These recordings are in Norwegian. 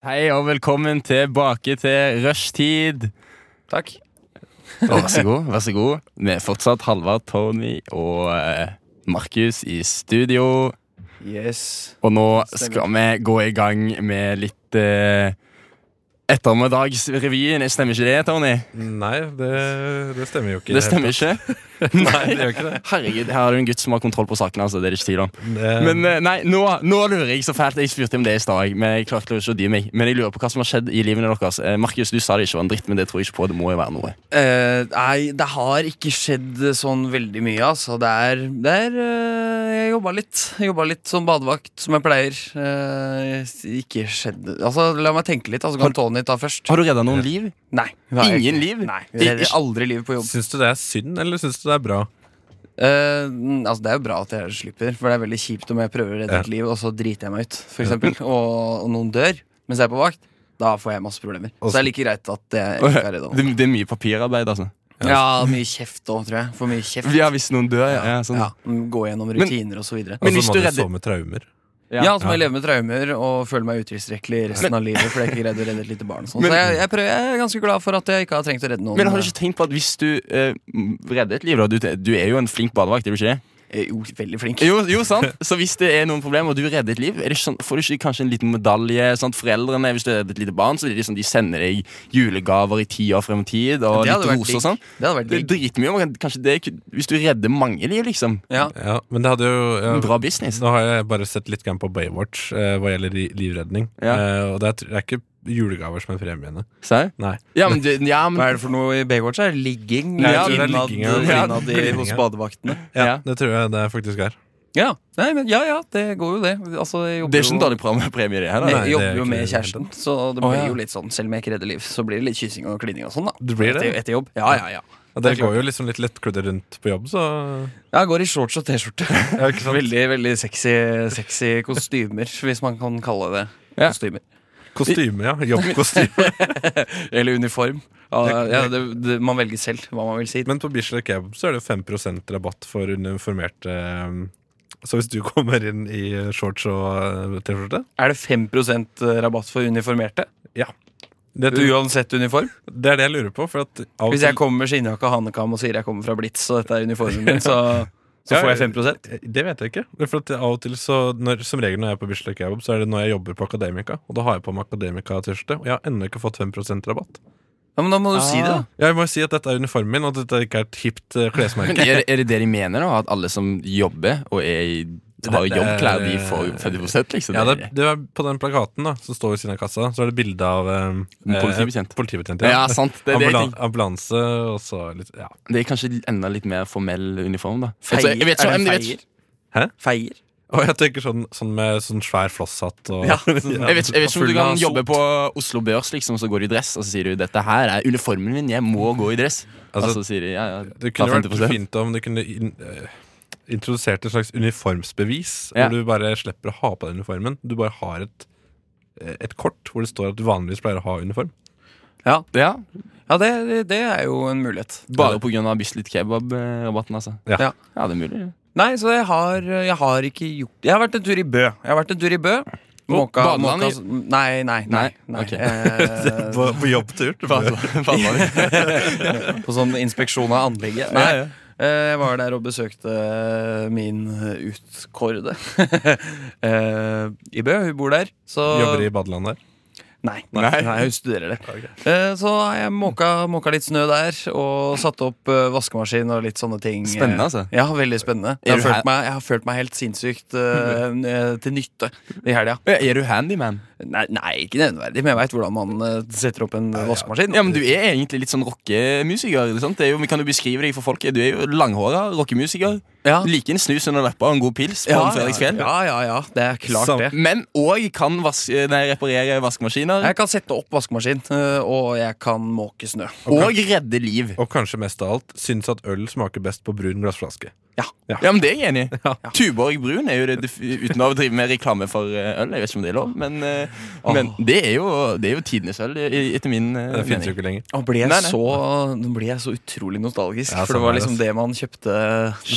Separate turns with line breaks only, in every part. Hei og velkommen tilbake til rushtid.
Takk.
Og Vær så god. vær så god Vi er fortsatt Halvard, Tony og eh, Markus i studio.
Yes.
Og nå skal vi
Stemmer.
gå i gang med litt eh, ettermiddagsrevyen. Stemmer ikke det, Tony?
Nei, det, det stemmer jo ikke.
Det stemmer ikke?
Nei, det gjør ikke det.
Herregud, her er du en gutt som har kontroll på saken. Altså, det er det ikke tvil om.
Um,
Det-
Men eh, nei, nå, nå lurer jeg så fælt. Jeg spurte om det i stad, men jeg klarte ikke å dy meg. Men jeg lurer på hva som har skjedd i livene deres. Eh, Markus, du sa det ikke var en dritt, men det tror jeg ikke på. Det må jo være noe.
Eh, nei, det har ikke skjedd sånn veldig mye, altså. Det er, det er eh, Jeg jobba litt. Jeg jobba litt som badevakt, som jeg pleier. Eh, ikke skjedd Altså, la meg tenke litt, altså kan Tony ta først.
Har du redda noen liv?
Nei. det har jeg
Ingen
ikke.
liv?
Nei,
Ikke-
jeg redder aldri liv på jobb.
Syns du det er synd, eller syns du det er bra?
Eh, mm, altså, det er jo bra at jeg slipper, for det er veldig kjipt om jeg prøver å redde
Ja.
et liv, og så driter jeg meg ut, for eksempel, og, og noen dør mens jeg er på vakt. Da får jeg masse problemer.
Og
Så det
så-
er like greit at jeg ikke er redd.
Det, det er mye papirarbeid, altså.
Ja, mye kjeft òg, tror jeg. For mye kjeft.
Ja, hvis noen dør, ja. ja, sånn.
Ja, mm, Gå gjennom rutiner og så videre.
Men
altså,
hvis
man
du
jo
redder-
så med traumer.
Ja.
Ja, så må jeg leve med traumer og føle meg utilstrekkelig resten av livet. For jeg er ikke redd å redde et lite barn og sånn.
Men-
Så jeg, jeg, prøver, jeg er ganske glad for at jeg ikke har trengt å redde noen.
Men har du ikke tenkt på at hvis du eh, redder et liv da, du, du er jo en flink badevakt, er du ikke det?
Eh, Jo, veldig flink.
Jo, jo, sant? Så hvis det er noen problemer, og du redder et liv, er det ikke sånn, får du ikke kanskje en liten medalje? Sant? Foreldrene, hvis du redder et lite barn, så er det sånn, de sender deg julegaver i ti år frem i tid, og
Det hadde
litt
vært
roser og
digg.
sånn.
Det hadde vært
Det er
digg.
dritmye, man kan- kanskje det, er ku- hvis du redder mange liv, liksom.
Ja.
Ja, men det hadde jo ja,
En bra business.
Nå har jeg bare sett litt grann på Baywatch eh, hva gjelder ri- livredning.
Ja.
Eh, og det er, tr- det er ikke julegaver som er premiene.
Ser?
Nei.
Ja, men, det- ja, men
Hva er det for noe i Baywatch? Er det ligging?
Ja,
jeg tror det
er
innad,
ligging, ja.
innad i, hos badevaktene.
Ja,
Ja.
Det tror jeg det faktisk er.
Ja. Nei, men, ja ja, det går jo, det. Altså, jeg jobber
det er ikke en
jo-
dårlig pre- premie det her, da.
Nei,
Jeg
det er
jobber jo
ikke
med
det.
kjæresten, så det
Å,
blir
ja.
jo litt sånn, selv om jeg ikke redder liv, så blir det litt kyssing og klining og sånn, da.
Det blir
Etter,
det.
etter jobb. Ja, ja, ja.
Ja,
det er
Dere går jo liksom litt lettkledde rundt på jobb, så
Jeg går i shorts og T-skjorte.
ja, ikke sant?
Veldig veldig sexy, sexy kostymer, hvis man kan kalle det
Ja.
kostymer.
Kostyme, ja. Jobbkostyme.
Eller uniform. Ja, ja, det, det, man velger selv hva man vil si.
Men på Bislett Kebab så er det jo 5 rabatt for uniformerte eh, Så hvis du kommer inn i shorts og eh, T-skjorte
Er det 5 rabatt for uniformerte?
det,
Uansett uniform?
det er det jeg lurer på. For at av og
Hvis jeg
til
kommer med skinnjakke og hanekam og sier jeg kommer fra Blitz, og dette er uniformen min, så, så
Ja,
får jeg 5
Det vet jeg ikke. Det er For at av og til så når, Som regel når jeg er på Bislett Kebab, så er det når jeg jobber på Akademika. Og da har jeg på meg Akademika-T-skjorte, og jeg har ennå ikke fått 5 rabatt.
Ja, Men da må du si det, da.
Jeg må jo si at dette er uniformen min, og at dette ikke er et hipt eh,
Men
klesmerke.
er, det- er det det de mener, da? At alle som jobber og er i har
Det- det er-
jobbklær, de får 50 liksom?
Ja, det, det er På den plakaten da som står ved siden av kassa, så er det bilde av eh, eh,
Politibetjent.
politibetjent,
ja, sant. Det, det, er
Ambulan
ting.
ambulanse og så litt Ja.
det er kanskje enda litt mer formell uniform, da. Altså,
Feier.
jeg vet ikke,
er det
men jeg vet,
feier?
Hæ?
Feier?
Og jeg tenker sånn, sånn med sånn svær flosshatt og
Ja,
jeg vet, jeg vet ikke om du
Full av
kan
sot.
jobbe på Oslo Børs, liksom, så går du i dress, og så sier du 'dette her er uniformen min, jeg må gå i dress'. Og
Altså,
så sier de ja, ja,
Det
ta
kunne vært
50%.
fint om du kunne in, eh, introdusert et slags uniformsbevis,
Ja.
hvor du bare slipper å ha på den uniformen. Du bare har et, eh, et kort hvor det står at du vanligvis pleier å ha uniform.
Ja,
Ja,
ja det, det- det er jo en mulighet.
Bare pga. Bislett Kebab-rabatten, altså.
Ja.
Ja.
ja, det er mulig. ja.
Nei, så jeg har, jeg har ikke gjort Jeg har vært en tur i Bø. Jeg har vært en tur i Bø. Måka,
badeland
måka
i-
Nei, nei, nei. nei.
ok.
Eh,
På, på jobbtur. Du bare-
på sånn inspeksjon av anlegget. Nei. Eh, Jeg var der og besøkte eh, min utkårede eh, i Bø. Hun bor der. Så
Jobber i badeland der.
Nei,
Nei.
nei. hun studerer det. Eh, Så har jeg måka, måka litt snø der, og satt opp eh, vaskemaskin og litt sånne ting. eh,
Spennende, altså.
Ja, veldig spennende. Jeg
Er
har
du her-
følt meg, jeg har følt meg helt sinnssykt eh, eh, til nytte i helga.
Er du handyman?
Nei, nei, ikke nevneverdig, men jeg veit hvordan man eh, setter opp en vaskemaskin.
Ja, men Du er egentlig litt sånn rockemusiker. ikke sant? Det er jo, vi kan jo beskrive deg for folket. Du er jo langhåra rockemusiker.
Ja.
Liker en snus under leppa og en god pils på en fredagskveld.
Ja, ja, ja, det er klart
Sam-
det.
Men òg kan vas nei, reparere vaskemaskiner.
Jeg kan sette opp vaskemaskin, eh, og jeg kan måke snø.
Og redde liv.
Og kanskje mest av alt syns at øl smaker best på brun glassflaske.
Ja, men Det er jeg enig i.
Ja.
Tuborg Brun er jo det def- uten å drive med reklame for eh, øl. Jeg vet ikke om det er lov, men, eh,
Åh.
men det, er jo, det er jo tidenes øl, i- etter min eh,
Det fins
mening.
jo ikke lenger.
Nå ble jeg,
Nei, nei.
Så, nå ble jeg så utrolig nostalgisk, for
Ja,
det
samme
var
her,
liksom
ass.
det man kjøpte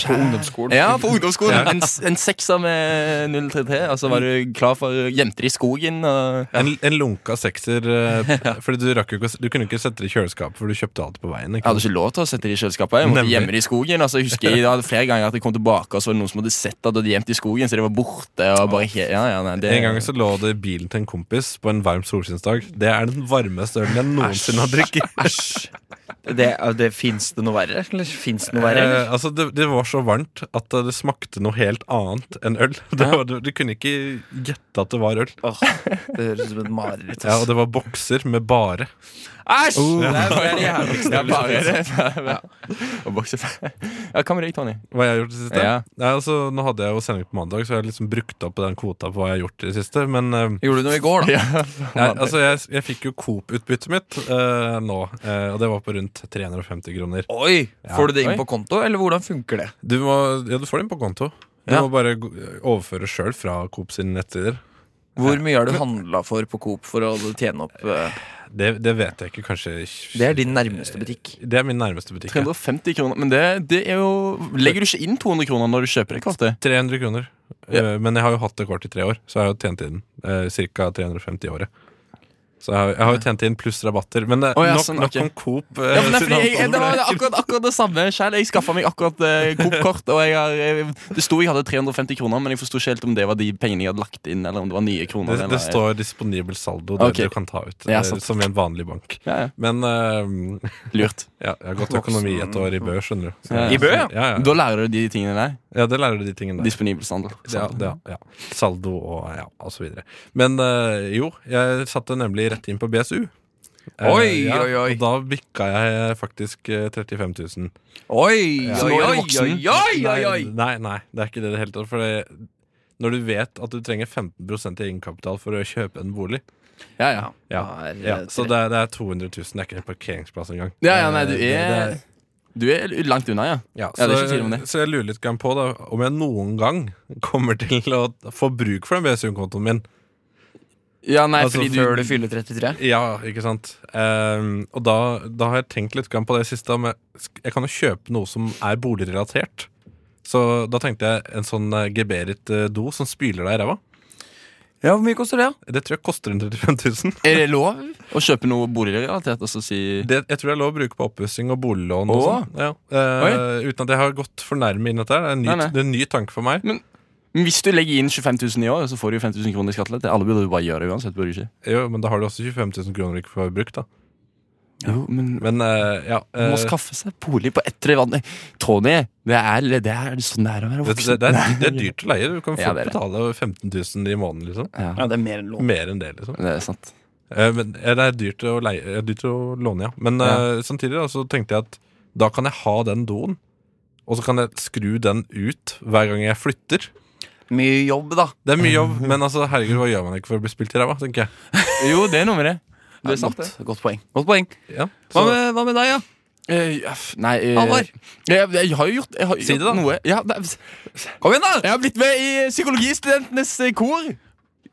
på ungdomsskolen.
Ja, på ungdomsskolen. En, s- en sekser med 033, og så Altså, var du klar for jenter i skogen. Og
En, en lunka sekser. eh, Fordi du, rakk jo ikke, å s- du kunne ikke sette det i kjøleskapet, for du kjøpte alt på veien.
jeg
Ikke?
hadde
sant?
ikke lov til å sette det i kjøleskapet. Jeg måtte
Nemlig.
gjemme det i skogen. Altså, jeg husker jeg hadde flere ganger at jeg kom tilbake, og så var det noen som hadde sett at jeg hadde gjemt det i skogen, så det var borte. Og bare he ja, ja, nei, det,
En gang så lå det i bilen til en kompis på en varm solskinnsdag. Det er den varmeste ølen jeg noensinne har drukket.
Æsj. Det, det Fins det noe verre? Eller fins det noe verre?
Eh,
Eller?
altså det, det var så varmt at eh, det smakte noe helt annet enn øl. Det var, du, du kunne ikke gjette at det var øl.
Åh, det høres ut som et mareritt.
Ja,
ass.
og det var bokser med bare.
Æsj! det er liksom. bare
Oh. ja,
det jævligste.
bare det. Og bokse Ja, hva med deg, Tony?
Hva jeg har gjort i det siste?
Ja.
Nei, altså, nå hadde jeg jo sending på mandag, så jeg har liksom brukt opp den kvota på hva jeg har gjort i det siste. Men eh,
Gjorde du noe i går, da?
jeg, altså, jeg, jeg fikk jo Coop-utbyttet mitt eh, nå, eh, og det var på rundt 350 kroner.
Oi! Får du det
Oi.
inn på konto, eller hvordan funker det?
Du, må, ja, du får den på konto. Du
Ja.
må bare gå- overføre sjøl fra Coop sine nettsider.
Hvor mye har du handla for på Coop for å tjene opp eh,
Det, det vet jeg ikke, kanskje
Det er din nærmeste butikk.
Det er min nærmeste butikk. ja.
350 kroner, men det, det er jo Legger du ikke inn 200 kroner når du kjøper det kortet?
300 kroner. Eh, Men jeg har jo hatt det kort i tre år, så jeg har jo tjent inn uh, ca. 350 i året. Så jeg har, jeg har jo tjent inn pluss rabatter. Men det,
Å ja,
nok,
sånn,
nok
ok.
om Coop. eh,
Ja, men det, er
siden
fordi jeg,
avtalen
det var
ble-
akkurat, akkurat det samme sjøl. Jeg skaffa meg akkurat eh, Coop-kort. Og jeg har, eh, det sto jeg hadde 350 kroner, men jeg forsto ikke helt om det var de pengene jeg hadde lagt inn. Eller om det var nye kroner
det, det
eller-
står disponibel saldo, det
Ok.
du kan ta ut.
Ja,
eh,
sant.
som i en vanlig bank.
ja, ja.
Men eh,
Lurt.
ja, jeg har gått økonomi et år i Bø, skjønner du. Så-
Ja, ja. I
Bø, ja?
Ja, ja.
Da lærer du de tingene der.
ja, det lærer du de tingene der.
Disponibel standard.
Ja, det, ja. Saldo og ja, og så videre. Men eh, jo, jeg satte nemlig rett inn på BSU. Eh,
Oi, oi, oi.
Og da bikka jeg faktisk eh, 35 000.
Oi,
Ja.
oi, oi, oi,
Voksen.
oi, oi, oi!
Nei, nei, nei, det er ikke det i det hele tatt. For det, når du vet at du trenger 15 i egenkapital for å kjøpe en bolig
Ja, ja.
ja,
Da er det
ja, Så
eh, tre-
det er, det er 200 000. Det er ikke en parkeringsplass engang.
ja, ja nei, du
Eh, det-
er
det er-
Du er langt unna, ja. ja,
ja, så,
det er ikke tvil om det.
så jeg lurer litt grann på da, om jeg noen gang kommer til å få bruk for den BSU-kontoen min.
Ja, nei,
Altså,
fordi du
Før du fyller 33?
Ja, ikke sant. Ehm, og da, da har jeg tenkt litt grann på det siste. Om jeg, sk- jeg kan jo kjøpe noe som er boligrelatert. Så da tenkte jeg en sånn eh, geberet eh, do som spyler deg i ræva.
Ja, hvor mye koster det?
Det tror jeg koster rundt 35 000.
Er det lov å kjøpe noe boligrelatert og så si
Det, jeg tror det er lov å bruke på oppussing og boliglån. Og
Åh.
sånn. ja. Eh, uten at jeg har gått for nærme inn i dette. her. Det er en ny,
Nei, nei.
Det er en ny tanke for meg.
Men Hvis du legger inn 25 000 i år, så får du jo 5000 kroner i skattelette. Alle burde jo bare gjøre det uansett. burde du ikke?
Jo, Men da har du også 25 000 kroner du ikke får brukt. da
Jo, men
Men eh, ja eh,
Må skaffe seg bolig på ett tre vann. Tony, det er, det er sånn det er å være
det, det,
voksen.
det, er, det er dyrt å leie. Du kan fort
Ja, det er det.
betale 15 000 i måneden. liksom
Ja,
det er mer enn
Mer enn det, liksom.
det er sant.
Eh, Men eh, det er dyrt å, leie, eh, dyrt å låne, ja. Men
Ja.
eh, samtidig da, så tenkte jeg at da kan jeg ha den doen, og så kan jeg skru den ut hver gang jeg flytter.
Mye jobb, da.
Det er mye jobb, men altså, herregud, hva gjør man ikke for å bli spilt i ræva? tenker jeg.
Jo, det er noe med det.
Ja,
Det er sant, det.
godt, godt poeng. Godt poeng.
Ja,
Hva,
så,
med, hva med deg, ja?
Eh, ja, f- nei eh,
Halvor?
Jeg, jeg har jo gjort, jeg har
Si det,
gjort
da.
noe. Ja, det,
Kom igjen, da!
jeg har blitt med i Psykologistudentenes eh, kor.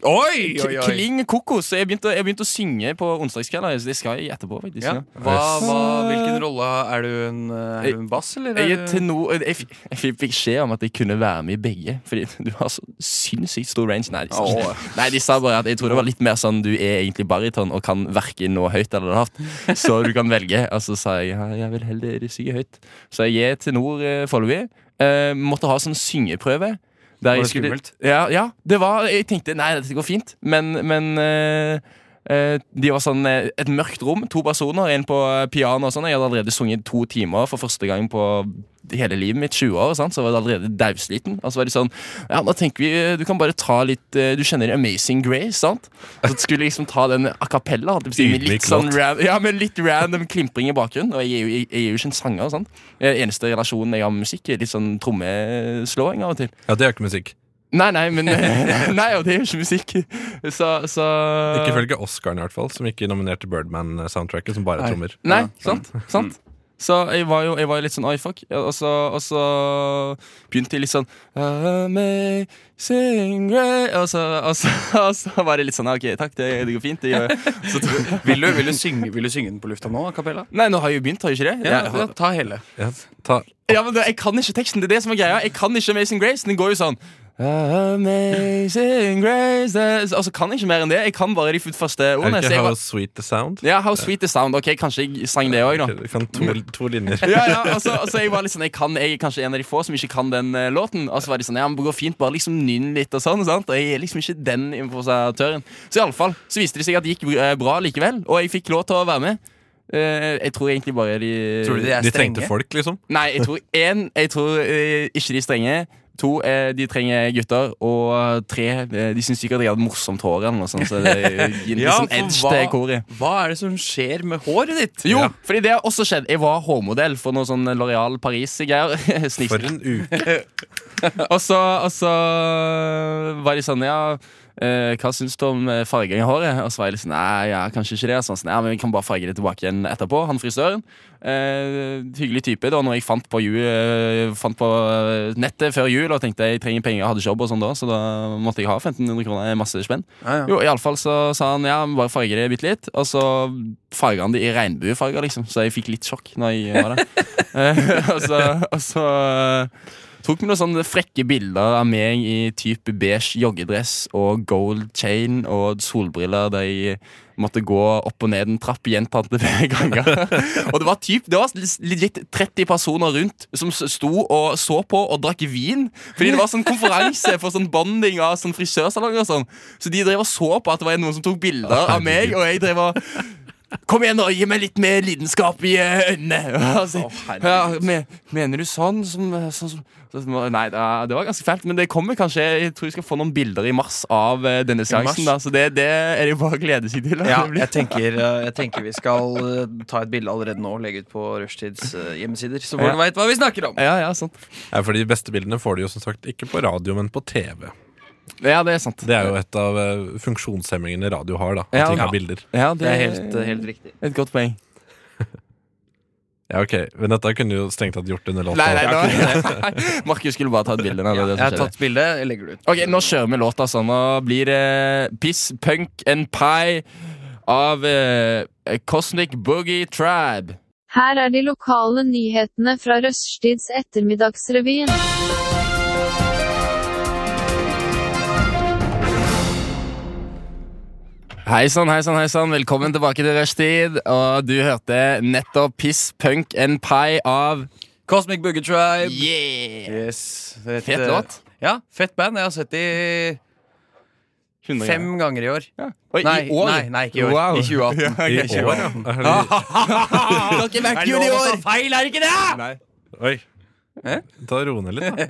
Oi,
K-
oi, oi!
Kling kokos. Jeg begynte, jeg begynte å synge på onsdagskvelder. så Det skal jeg etterpå, faktisk.
Ja.
Ja.
Hva, hva, hvilken rolle er du? En, er du en bass, eller?
Jeg,
er
er
du-
til no, jeg, fikk- jeg fikk beskjed om at jeg kunne være med i begge. Fordi du har så sinnssykt stor range. Nei, de sa, ikke det. Nei, de sa bare at jeg tror det var litt mer sånn du er egentlig bariton og kan verken nå høyt eller lavt. Så du kan velge. Og så sa jeg ja, jeg vil heller synge høyt. Så jeg er tenor eh, foreløpig. Eh, måtte ha sånn syngeprøve. der
Var det
jeg skulle-
skummelt?
Ja, ja, det var Jeg tenkte nei, dette går fint, men, men eh, Eh, de var sånn eh, et mørkt rom, to personer, en på eh, piano og sånn. Jeg hadde allerede sunget to timer for første gang på hele livet mitt, 20 år, sant? så var jeg allerede dausliten. Og så var de sånn Ja, nå tenker vi eh, du kan bare ta litt eh, Du kjenner Amazing Grace, sant? Og så skulle jeg liksom ta den a cappella, holdt jeg på å si, med litt
Ydmyk
sånn
låt.
ran, Ja, med litt random klimpring i bakgrunnen. Og jeg er jo, jeg, jeg er jo ikke en sanger, sant. Eh, Eneste relasjonen jeg har med musikk, er litt sånn trommeslåing av og til.
ja, det er jo ikke musikk.
Nei, nei, men Nei, og det er jo ikke musikk. Så, så
Eh.
Ikke ifølge Oscaren, i hvert fall, som ikke nominerte Birdman-soundtracket, som bare
Nei.
er trommer.
Nei,
Ja. sånn.
sant? sant? Så jeg var jo jeg var jo litt sånn oi, fuck. Og så, og så begynte jeg litt sånn Amazing grace og, så, og, så, og så var det litt sånn OK, takk, det, det går fint. Det gjør jeg. Så tok,
Vil du, vil du, synge, vil du synge den på lufta nå, Kapella?
nei, nå har jeg jo begynt, har jeg ikke det?
Ja,
Jeg
ja,
har-
ta hele.
Ja, ta,
ja, men det, Jeg kan ikke teksten. Det er det som er greia. Jeg kan ikke Amazing Grace. Den går jo sånn Amazing Grace eh, Altså, kan jeg ikke mer enn det. Jeg kan bare de første
er
ordene. så
det
jeg
ikke
var-
How Sweet The Sound?
Ja, How Sweet The Sound. Ok, Kanskje jeg sang det òg, da.
Du kan to, to linjer.
Ja, ja, altså, altså jeg var litt sånn Jeg, kan, jeg er kanskje en av de få som ikke kan den eh, låten. Og så var de sånn Ja, men det går fint, bare liksom nynn litt og sånn. Sant? Og jeg er liksom ikke den improvisatøren. Så i alle fall, så viste det seg at det gikk eh, bra likevel, og jeg fikk lov til å være med. Eh, jeg tror egentlig bare de
Tror du de er
De trengte
strenge?
folk, liksom.
Nei, jeg tror én Jeg tror eh, ikke de strenge. To, eh, de trenger gutter. Og tre, eh, de syns sikkert jeg hadde morsomt hår eller noe sånt. Så det gir en
Ja,
litt sånn
for
edge
hva-
til koret.
Hva er det som skjer med håret ditt?
Jo,
Ja.
fordi det har også skjedd. Jeg var hårmodell for noe sånn Loreal Paris-greier. Snikskryt.
For en uke.
Og så, og så var de sånn, ja eh, hva syns du om eh, farging i håret? Og så var jeg litt sånn, nei, ja, kanskje ikke det. Og så var han sånn, ja, men vi kan bare farge det tilbake igjen etterpå. Han frisøren. Eh, hyggelig type. Det var noe jeg fant på, jul, eh, fant på eh, nettet før jul og tenkte jeg trenger penger, jeg hadde jobb og sånn da, så da måtte jeg ha 1500 kroner, masse spenn.
Ja, ja.
Jo, iallfall så sa han ja, men bare farge det bitte litt. Og så farga han det i regnbuefarger, liksom, så jeg fikk litt sjokk når jeg var der. Eh, og så, og så eh, tok vi noen sånne frekke bilder av meg i type beige joggedress og gold chain og solbriller der jeg måtte gå opp og ned en trapp gjentatte ganger. og det var typ, det var legit 30 personer rundt som s- sto og så på og drakk vin. Fordi det var sånn konferanse for sånn bonding av sånn frisørsalonger og sånn. Så de drev og så på at det var noen som tok bilder av meg, og jeg drev og Kom igjen, nå! Gi meg litt mer lidenskap i eh, øynene! Altså, ja, me, mener du sånn som, sånn som sånn som- Nei, det er- det var ganske fælt, men det kommer kanskje Jeg tror jeg skal få noen bilder i mars av eh, denne seansen. Da,
mars?
så det, det er det jo bare å glede seg til. da.
Ja,
Det blir-
jeg tenker, eh, jeg tenker vi skal eh, ta et bilde allerede nå og legge ut på Rushtids eh, hjemmesider, så folk
Ja.
veit hva vi snakker om.
ja, ja, sant.
Ja, for de beste bildene får de jo som sagt ikke på radio, men på TV.
Ja, det er sant.
Det er jo et av eh, funksjonshemmingene radio har, da. At
Ja,
de ikke
ja.
har bilder.
Ja, det,
Det er helt, eh, helt riktig.
et godt poeng.
Ja, ok, Men dette kunne jo strengt tatt gjort under låta.
Nei, nei, nå- Markus skulle bare ta et bilde. Nå, det er det
Jeg
som
har
skjer.
tatt bilde, jeg legger det ut.
Ok, Nå kjører vi låta sånn. Nå blir det Piss, Punk and Pie av eh, Cosmic Boogie Tribe.
Her er de lokale nyhetene fra Røststids ettermiddagsrevyen.
Hei sann, hei sann, hei sann. Velkommen tilbake til Rushtid. Og du hørte nettopp Piss, Punk and Pie av
Cosmic Boogie Tribe.
Yeah!
Yes. Et,
Fet
eh,
låt.
Ja, fett band. Jeg har sett de fem ganger i år.
Oi,
Nei,
i år.
nei, nei, ikke i år.
Wow. Ah,
I 2018.
I år, ja. Er det-
Dere merker jo det i år!
feil, er det ikke det?!
Nei.
Oi.
Hæ?
Ta ro ned litt, da.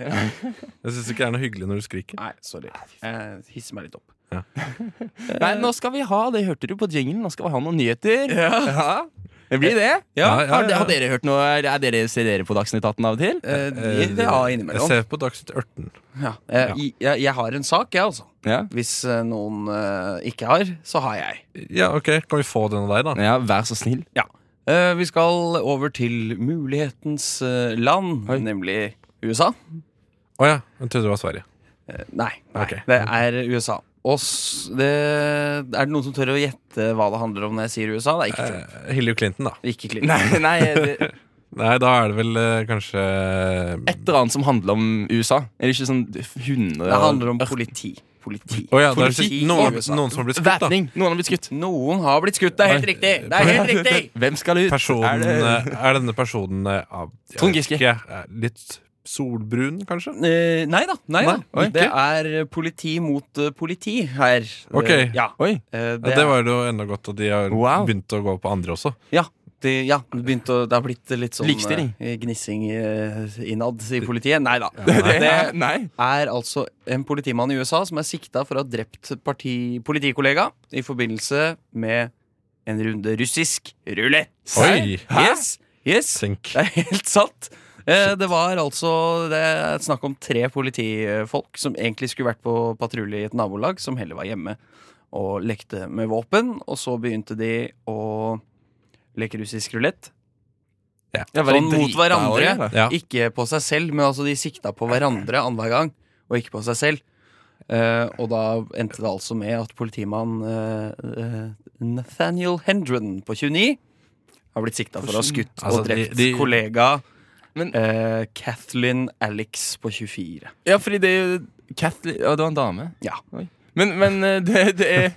Jeg syns ikke det er noe hyggelig når du skriker.
Nei, sorry. Jeg hisser meg litt opp.
Nei, nå skal vi ha det hørte du på jinglen. Nå skal vi ha noen nyheter. Ja. Det blir det.
Ja, ja,
Har, de-
ja.
har dere hørt noe? Er dere, ser dere på Dagsnytt 18 av og til?
Eh, de- ja,
Jeg
innimellom.
ser på Dagsnytt 18.
Ja. Eh, i- Jeg, jeg har en sak, jeg, altså.
Ja.
Hvis eh, noen eh, ikke har, så har jeg.
Ja, ok, Kan vi få den av deg, da?
ja, vær så snill.
Eh, Vi skal over til mulighetens eh, land,
Oi.
nemlig USA.
Å ja. Jeg trodde det var Sverige.
Eh, Nei, nei
Ok.
det er USA. Og s- det, er det noen som tør å gjette hva det handler om når jeg sier USA? Det er ikke Trump.
Eh, Hillary Clinton, da.
Ikke Clinton.
Nei, nei det,
Nei, da er det vel eh, kanskje
Et eller annet som handler om USA. Er det ikke sånn 100
Det handler om politi. Politi.
Å ja, det er
Politi
sikkert
i
noen,
USA.
noen som har blitt skutt, da.
Væpning. Noen har blitt skutt.
Noen har blitt skutt, det er helt
Nei.
riktig! Det er helt riktig!
Hvem skal ut?
Personen,
Er det-
eh, er denne personen eh, av jeg
Trond
vet
Giske.
ikke, eh, Litt solbrun, kanskje?
Eh, nei da.
Nei,
Nei, da.
oi,
Det er politi mot eh, politi her. Eh,
Ok.
Ja.
Oi.
Eh,
Det,
det,
ja, det var jo enda godt at de har
Wow.
begynt å gå på andre også.
ja, det, ja, det, begynte å, det har blitt litt sånn
Likestilling.
eh, gnissing eh, innad i politiet. Nei da.
Det,
Det
er- nei.
er altså en politimann i USA som er sikta for å ha drept parti, politikollega i forbindelse med en runde russisk rulett.
Oi.
Hæ?
Yes, yes.
Tenk.
Det er helt sant. Eh, Det var altså det er snakk om tre politifolk som egentlig skulle vært på patrulje i et nabolag, som heller var hjemme og lekte med våpen. Og så begynte de å leke russisk rulett.
Ja, var de
Sånn mot
drita også,
hverandre.
eller?
Ja.
Ikke på seg selv, men altså de sikta på hverandre annenhver gang, og ikke på seg selv. Eh, og da endte det altså med at politimann eh, eh, Nathaniel Hendren på 29 har blitt sikta for å ha skutt
Altså,
og
de-
drept
de-
kollega
Men-
eh, Kathleen Alex på 24.
Ja, fordi det er jo Kathleen Ja, det var en dame.
Ja.
Oi. Men, men eh, det, det er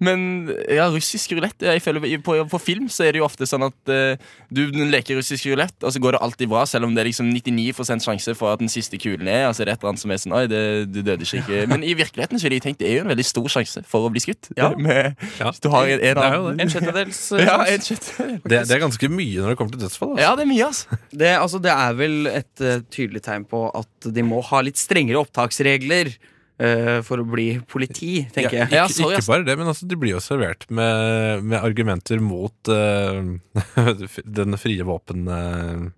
men ja, russisk rulett jeg føler, på, på film så er det jo ofte sånn at eh, du leker russisk rulett, og så går det alltid bra, selv om det er liksom 99 sjanse for at den siste kulen er Altså er det et eller annet som er sånn Oi, det, du døde ikke. ikke». Men i virkeligheten så ville jeg tenkt det er jo en veldig stor sjanse for å bli skutt.
Ja.
Med,
Ja.
hvis du har en, en
er jo
annen-
En sjettedels. eh,
Ja,
sjanse.
en kjøtt.
Det, det er ganske mye når det kommer til dødsfall. Altså.
ja, det er mye, altså.
Det, altså, det er vel et eh, tydelig tegn på at de må ha litt strengere opptaksregler eh, for å bli politi, tenker jeg.
Ja,
Ikke,
sorry,
ikke
ass.
bare det, men altså, de blir jo servert med, med argumenter mot eh, den frie våpenreglementene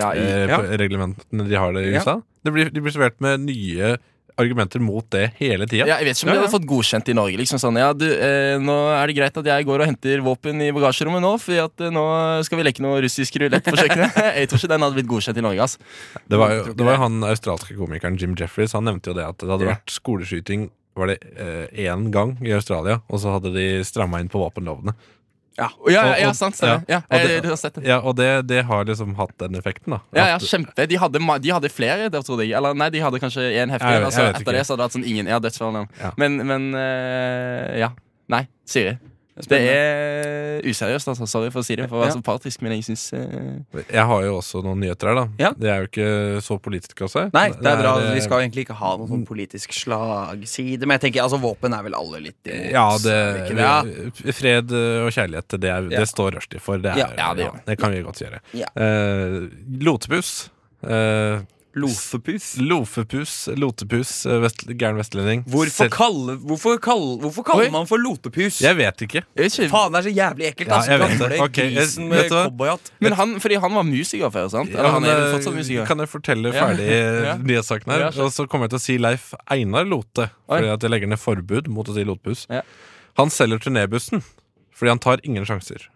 Ja, i,
ja.
de har det i
Ja.
USA. De, blir, de blir servert med nye argumenter mot det hele tida.
Ja, jeg vet ikke om de
Ja, ja.
hadde fått godkjent i Norge. Liksom sånn, ja, du, eh, nå er det greit at jeg går og henter våpen i bagasjerommet nå, for at, eh, nå skal vi leke noe russisk rulett på kjøkkenet. jeg tror ikke den hadde blitt godkjent i Norge. altså. ass.
Det var jo
Jeg tror ikke
det var
det.
jo han australske komikeren Jim Jeffries Han nevnte jo det at det hadde
Ja.
vært skoleskyting Var det eh, én gang i Australia, og så hadde de stramma inn på våpenlovene.
Ja, ja, ja,
Og- og-
sant, stemmer. Ja,
og
jeg,
det-
du har sett det.
Ja, Og det, det har liksom hatt den effekten, da.
Ja, ja,
At-
kjempe. De hadde, ma- de hadde flere, der, trodde jeg. Eller nei, de hadde kanskje én heftig.
Jeg
en,
vet-
Altså,
jeg
etter
vet ikke.
det så hadde det vært sånn ingen. Ja, dødsfall. ja.
Ja.
Men, men eh, ja. Nei, Siri. Det er useriøst, altså. Sorry for å si det, for å være
Ja.
så partisk, men jeg syns eh,
Jeg har jo også noen nyheter her, da.
Ja.
Det er jo ikke så politisk å se.
Nei, det er bra.
eh, mm.
Vi skal jo egentlig ikke ha noen sånn politisk slagside. Men jeg tenker, altså våpen er vel alle litt imot.
eh, ja,
er vi
det,
ikke det? Ja.
Fred eh, og kjærlighet, det, er,
Ja.
det står Rushdie for. Det, er,
Ja,
ja, det gjør
det kan vi godt gjøre.
Ja.
Eh, lotepus. Eh,
Lofepus.
lofepus, lotepus, eh, vest, gæren vestlending.
Hvorfor,
Selv-
kalle, hvorfor, kalle, hvorfor kaller
Oi.
man for lotepus?
Jeg vet ikke.
jeg vet ikke-
Faen, det er så jævlig ekkelt.
Ja,
Altså.
jeg
Du
vet det.
gamle
Ok, jeg-
grisen
vet
med
du hva?
cowboyhatt.
Men han, fordi han var musiker før, sant? Eller
Ja,
han
men,
er vel
eh,
fortsatt musiker?
Kan jeg fortelle
Ja.
ferdig
Ja.
eh, nyhetssaken her?
Ja, skjønt.
Og så kommer jeg til å si Leif Einar Lote,
Oi.
fordi at jeg legger ned forbud mot å si Lotepus.
Ja.
Han selger turnébussen fordi han tar ingen sjanser.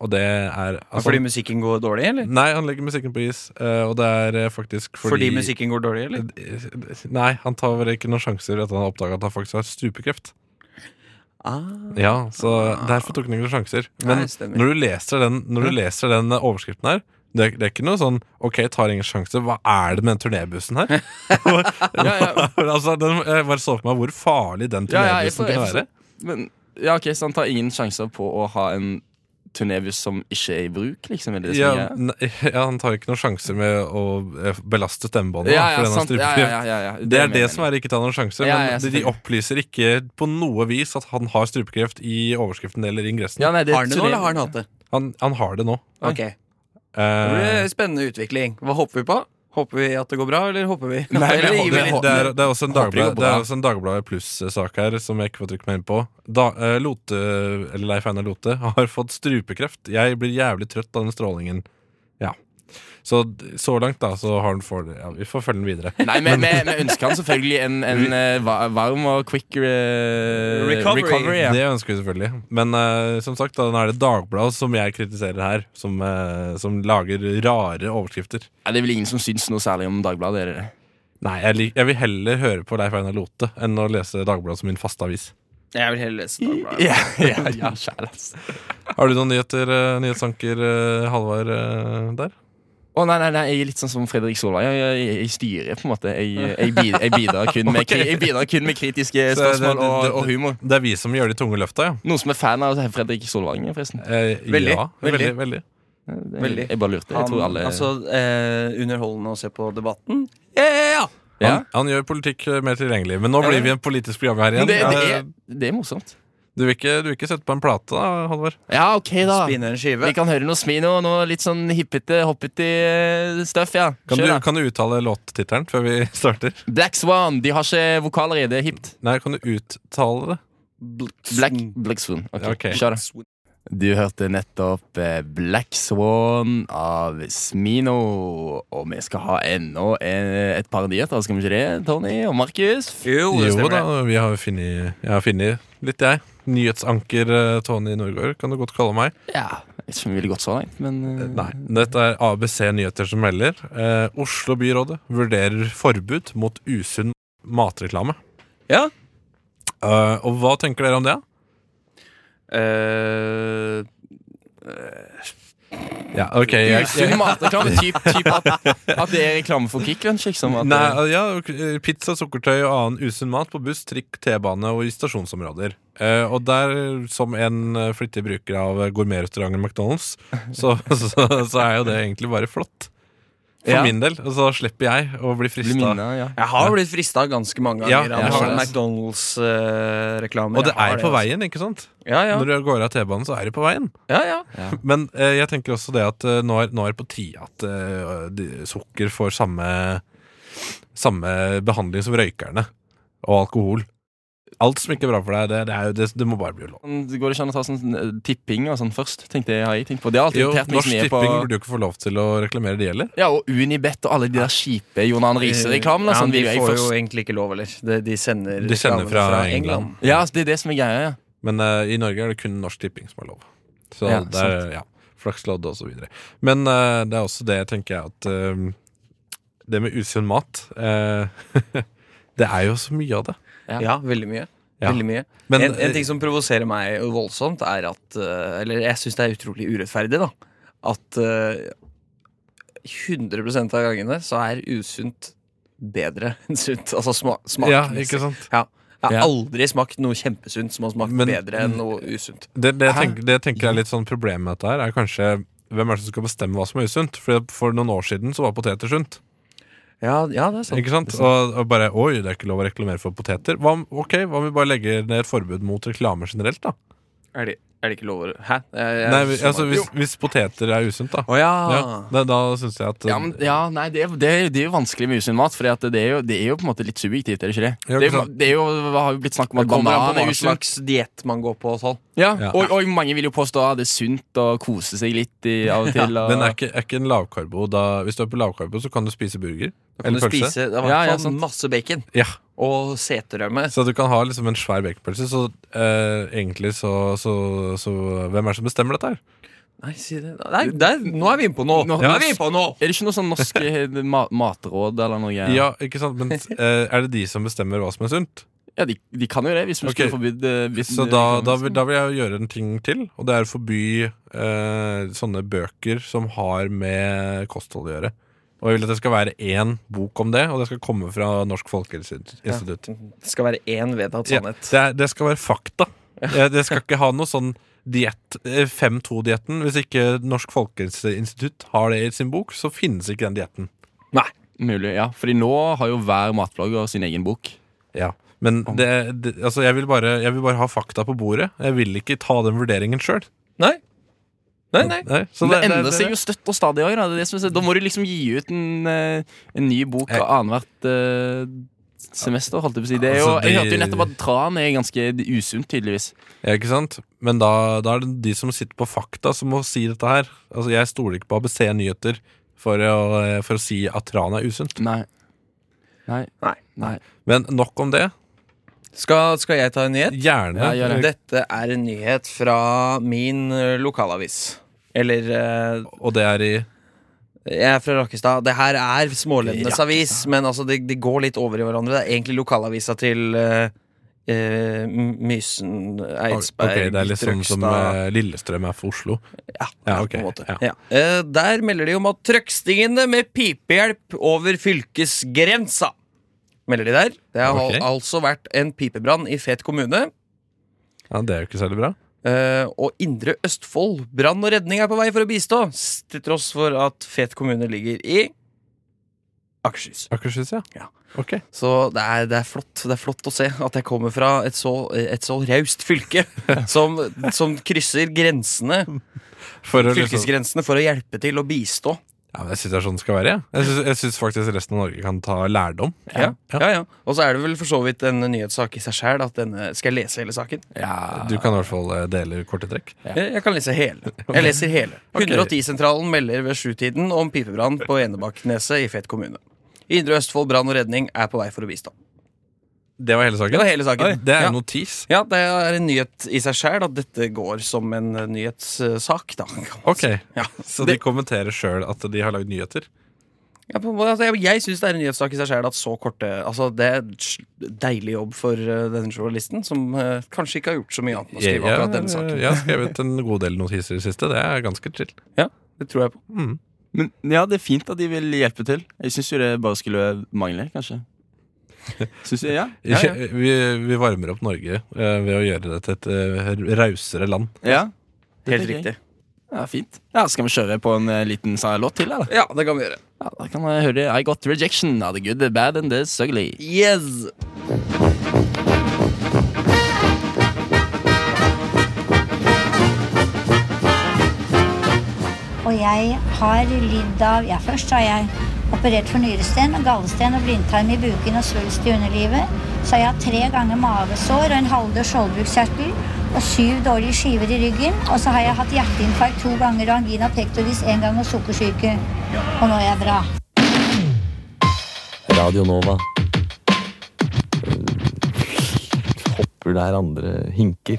Og det er altså,
fordi musikken går dårlig, eller?
Nei, han legger musikken på is, eh, og det er eh, faktisk
Fordi,
fordi Eh,
musikken går dårlig, eller?
Nei, han tar vel ikke noen sjanser etter at han har oppdaga at han faktisk har stupekreft.
Ah.
Ja, så derfor tok han ikke noen sjanser. Men
Nei, stemmer.
når du leser den, når du leser den eh, overskriften her det er, det er ikke noe sånn OK, tar ingen sjanse. Hva er det med den turnébussen her?
ja.
altså, den, jeg bare så for meg hvor farlig den
Ja, ja, jeg
turnébussen
får- jeg
kunne være.
forstår. Men, ja, ok, Så han tar ingen sjanser på å ha en turnébuss som ikke er i bruk? liksom? Eller det
Ja,
som er-
ne- ja, Han tar jo ikke noen sjanser med å eh, belaste stemmebåndet. da,
ja,
for
ja,
den
sant.
har
Ja,
strupekreft.
ja, ja, ja, ja.
Det er det som er ikke ta noen sjanser.
Ja, ja,
men de- de
selvfølgelig.
opplyser ikke på noe vis at han har strupekreft i overskriften eller ingressen.
ja, nei, det er
Har han det nå,
turné-
eller har han hatt det?
Han, han har det nå.
Ok, Det
Eh,
blir Spennende utvikling. Hva håper vi på? Håper vi at det går bra, eller håper vi
Nei, men jeg
Eller
håper-
gir vi
det,
litt-
det, er, det er også en
Håper det går
Dagbladet
bra.
Det er også en Dagbladet Pluss-sak her som jeg ikke får trykke meg inn på. Da, eh, Lote, eller Leif Einar Lote har fått strupekreft. Jeg blir jævlig trøtt av den strålingen. Ja. Så d- så langt, da, så har han for ja, Vi får følge den videre.
Nei, men vi, vi ønsker han selvfølgelig en, en eh, va- varm og quick eh,
Recovery.
ja.
Det ønsker vi selvfølgelig. Men eh, som sagt, da, nå er det Dagbladet som jeg kritiserer her, som, eh, som lager rare overskrifter.
Ja, det er vel ingen som syns noe særlig om Dagbladet? Er det det?
Nei, jeg, lik, jeg vil heller høre på Leif Einar Lote enn å lese Dagbladet som min faste avis.
Jeg vil heller lese Dagbladet.
Ja, ja, ja, kjære, altså.
Har du noen nyheter, eh, nyhetsanker eh, Halvard eh, der?
Å nei, nei, nei, jeg er litt sånn som Fredrik Solvang. Jeg, jeg, jeg styrer, på en måte. Jeg, jeg, bidrar, jeg, bidrar kun med, kri- jeg bidrar kun med kritiske
Så det-
spørsmål
det- det-
og, og humor.
Det er vi som gjør de tunge løfta, ja.
Noen som er fan av altså, Fredrik Solvang, forresten.
Eh,
Veldig,
Ja,
veldig.
veldig, veldig.
Det-
Veldig.
Jeg bare lurte. Jeg tror alle
Altså, eh, underholdende å se på debatten. Ja!
ja.
Han, han gjør politikk eh, mer tilgjengelig. Men nå
Ja,
blir
ja.
vi en politisk program her
Men
igjen.
det, det,
Eh,
er, det er morsomt.
Du, vil ikke, du vil ikke sette på en plate, da, Halvor?
Ja, OK, da.
Spinne en skive.
Vi kan høre noe smino og noe litt sånn hippete, hoppete eh, stuff, ja.
Kan,
Kjør,
du-
da.
kan du uttale låttittelen før vi starter?
Black Swan. De har ikke vokaler i. Det er hipt.
Nei, kan du uttale det?
Black,
Mm.
Black Swan. Ok,
Ok.
Kjør, da. Du hørte nettopp eh, Black Swan av Smino. Og vi skal ha ennå en, eh, et par nyheter, skal vi ikke det, Tony og Markus?
Jo, det
Jo
stemmer.
da,
det.
vi har funnet, jeg har funnet litt, jeg. Nyhetsanker eh, Tony Norgård kan du godt kalle meg.
Ja, Ikke så veldig godt så langt, men eh,
Nei. Dette er ABC Nyheter som melder. Eh, Oslo byrådet vurderer forbud mot usunn matreklame.
Ja.
Eh, og hva tenker dere om det?
Eh,
Ja, ok jeg,
Usunn matreklame. Typ, typ at, at det er reklame for Kvikk Lunsj. Liksom, at,
Nei, eh, ja, ok, pizza, sukkertøy og annen usunn mat på buss, trikk, T-bane og i stasjonsområder. Eh, og der, som en eh, flittig bruker av gourmetrestauranten McDonald's, så, så, så er jo det egentlig bare flott. For
Ja.
min del. Og så slipper jeg å bli
Blir
frista.
minnet, ja.
jeg har blitt frista ganske mange
Ja,
ganger
jeg
av
har
sånne
det.
McDonald's-reklamer.
Og det er på
altså.
veien, ikke sant?
Ja, ja.
Når du går av T-banen, så er det på veien.
ja, ja.
Men eh, jeg tenker også det at eh, nå, er, nå er det på tide at eh, de- sukker får samme, samme behandling som røykerne og alkohol. Alt som ikke er bra for deg, det, det, er jo, det, det må bare bli lov.
Sånn, Det går ikke an å ta sånn eh, tipping og sånn først, tenkte jeg. Har jeg tenkt på. Det har alltid
Jo,
irritert meg
Norsk
som jeg er
Tipping
på
burde jo ikke få lov til å reklamere de heller.
Ja, og Unibet og alle de der kjipe John Arne Riise-reklamene.
Ja,
sånn,
de
vil jeg
får jo
først.
egentlig ikke lov, eller? De, de sender
De sender
reklamene
fra England.
Ja, altså, det er det som er greia. ja
Men eh, i Norge er det kun Norsk Tipping som har lov. Så
Ja,
det er ja, flakslodd og så videre. Men eh, det er også det, tenker jeg, at eh, det med usunn mat eh, Det er jo så mye av det.
Ja.
Ja, veldig mye.
Ja.
Veldig mye.
Men, eh,
en, en ting som provoserer meg voldsomt, er at eh, Eller jeg syns det er utrolig urettferdig, da. At eh, 100 av gangene så er usunt bedre enn sunt. Altså sma smak.
ja,
liksom.
ikke sant?
Ja. Jeg har
Ja.
aldri smakt noe kjempesunt som har smakt
Men-
bedre enn noe usunt.
Det, det, jeg
Hæ?
tenker, det jeg tenker er litt sånn problemet med dette her, er kanskje hvem er det som skal bestemme hva som er usunt? For, for noen år siden så var poteter sunt.
Ja, ja det
Sånn,
er sant.
Ikke sant? Og, og bare Oi, det er ikke lov å reklamere for poteter. Hva om, ok, hva om vi bare legger ned et forbud mot reklame generelt, da?
Er det, er det ikke lov å Hæ? Jeg, jeg,
Nei, vi-
sånn.
så-
altså Hvis, hvis poteter er usunt, da.
Å ja.
Ja, da da syns jeg at
ah. Ja, men, ja nei, det, er- det, er- det er jo vanskelig med usunn mat, for det, er jo- det er jo på en måte litt subjektivt, er det ikke det?
Ja, ikke
Det, er, jo-
sant.
det er jo, har jo blitt snakk om
Det
at
kommer an
banan
på
er
hva
usunt.
slags diett man går på. og sånn.
Ja,
Ja.
og, og mange vil jo påstå at det er sunt å kose seg litt i, av og til. Og,
Men er ikke, er ikke en lavkarbo da Hvis du er på lavkarbo, så kan du spise burger.
Da kan du
Eller pølse.
spise det var
Ja, ja,
sånn
sant.
masse bacon
Ja,
og seterømme.
Så du kan ha liksom en svær baconpølse. Så eh, egentlig så, så, så Hvem er det som bestemmer dette her?
Nei, si det. Nei, der, nå er vi inne på noe!
Nå-
Nå er vi inne på noe!
er det ikke noe sånn norsk eh, ma matråd eller noe?
Ja, ikke sant? Men eh, er det de som bestemmer hva som er sunt?
Ja, de, de kan jo det, hvis vi
Ok,
skulle forbydd eh, hvis-
Så da, da, vil, da vil jeg gjøre en ting til, og det er å forby eh, sånne bøker som har med kosthold å gjøre. Og jeg vil at det skal være én bok om det, og det skal komme fra Norsk Folkehelseinstitutt.
Det skal være én vedtatt
Ja,
sannhet.
det, er- det skal være fakta. Eh, Det skal ikke ha noe sånn diett, eh, 5-2-dietten. Hvis ikke Norsk Folkehelseinstitutt har det i sin bok, så finnes ikke den dietten.
Nei.
Mulig, ja. Fordi nå har jo hver matblogger sin egen bok.
Ja. Men det, det, altså jeg, vil bare, jeg vil bare ha fakta på bordet. Jeg vil ikke ta den vurderingen sjøl.
Nei. Nei, nei.
så
Men det,
det- det-
endrer
det-
seg jo støtt og stadig òg. Da. Det er det som er- da må du liksom gi ut en, eh, en ny bok
Jeg-
annethvert eh, semester, holdt jeg på å si. Det er jo,
Altså, det-
jeg hørte jo nettopp at tran er ganske usunt, tydeligvis.
Ja, ikke sant? Men da, da er det de som sitter på fakta som må si dette her. Altså, jeg stoler ikke på ABC Nyheter for å, eh, for å si at tran er usunt.
Nei. Nei.
Nei.
Nei.
Men nok om det.
Skal, skal jeg ta en nyhet?
Gjerne.
Ja, gjør det.
Dette er en nyhet fra min eh, lokalavis. Eller eh,
Og det er i
Jeg er fra Rakkestad. Det her er smålendenes avis, men altså det, det går litt over i hverandre. Det er egentlig lokalavisa til eh, eh, Mysen, Eidsberg,
Ok, det er litt sånn som
Trøgstad.
eh, Lillestrøm er for Oslo.
Ja,
Ja,
ja,
ok,
på en måte.
ja.
Ja. Eh, der melder de om at trøkstingene med pipehjelp over fylkesgrensa. Melder de der. Det har
Ok.
al- altså vært en pipebrann i Fet kommune.
Ja, Det er jo ikke særlig bra.
eh, og Indre Østfold brann og redning er på vei for å bistå, s- til tross for at Fet kommune ligger i Akershus.
Akershus, ja.
Ja.
Ok.
Så det er, det er flott Det er flott å se at jeg kommer fra et så, et så raust fylke som, som krysser grensene
For å liksom,
fylkesgrensene for å hjelpe til og bistå.
ja, men jeg syns det er sånn det skal være. Ja. Jeg synes- Jeg syns faktisk resten av Norge kan ta lærdom.
Ja, ja, ja. Og så er det vel for så vidt en nyhetssak i seg sjæl. Skal jeg lese hele saken?
Ja.
Du kan i hvert fall eh, dele korte trekk.
Jeg, jeg kan lese hele. Jeg leser hele. 110-sentralen melder ved sjutiden om pipebrann på Enebakkneset i Fet kommune. Indre Østfold brann og redning er på vei for å bistå.
Det var hele
Det
saken.
var hele saken.
Det er
ja.
en notis.
ja, det er en nyhet i seg sjæl at dette går som en eh, nyhetssak, da. kan man
Ok,
si. Ja.
Så de
Det-
kommenterer sjøl at de har lagd nyheter?
Ja, på en måte, altså, jeg jeg syns det er en nyhetssak i seg sjøl at så korte altså, Det er en deilig jobb for eh, denne journalisten, som eh, kanskje ikke har gjort så mye annet enn å
Jeg,
skrive akkurat denne
jeg,
saken.
jeg har skrevet en god del notiser i det siste. Det er ganske chill.
Det tror jeg på.
Mm.
Men ja, det er fint at de vil hjelpe til. Jeg syns jo det bare skulle mangle, kanskje. Synes jeg, ja.
Ja, ja.
Vi, vi varmer opp Norge eh, ved å gjøre det til et eh, rausere land.
ja. Det
Helt
tenker jeg.
riktig.
Ja, fint. Ja, Skal vi kjøre på en eh, liten sa- låt til, eller?
Ja, det kan vi gjøre.
Ja, da kan jeg høre I Got Rejection av The Good, The Bad and The Sugly.
Yes!
Og jeg har lidd av Ja, først har jeg operert for nyresten, gallesten og blindtarm i buken og svulst i underlivet. Så har jeg hatt tre ganger mavesår og en halvdød skjoldbruskkjertel og syv dårlige skiver i ryggen. Og så har jeg hatt hjerteinfarkt to ganger og angina pectoris én gang og sukkersyke. Og nå er jeg bra.
Radio Nova. Eh, Hopper der andre hinker.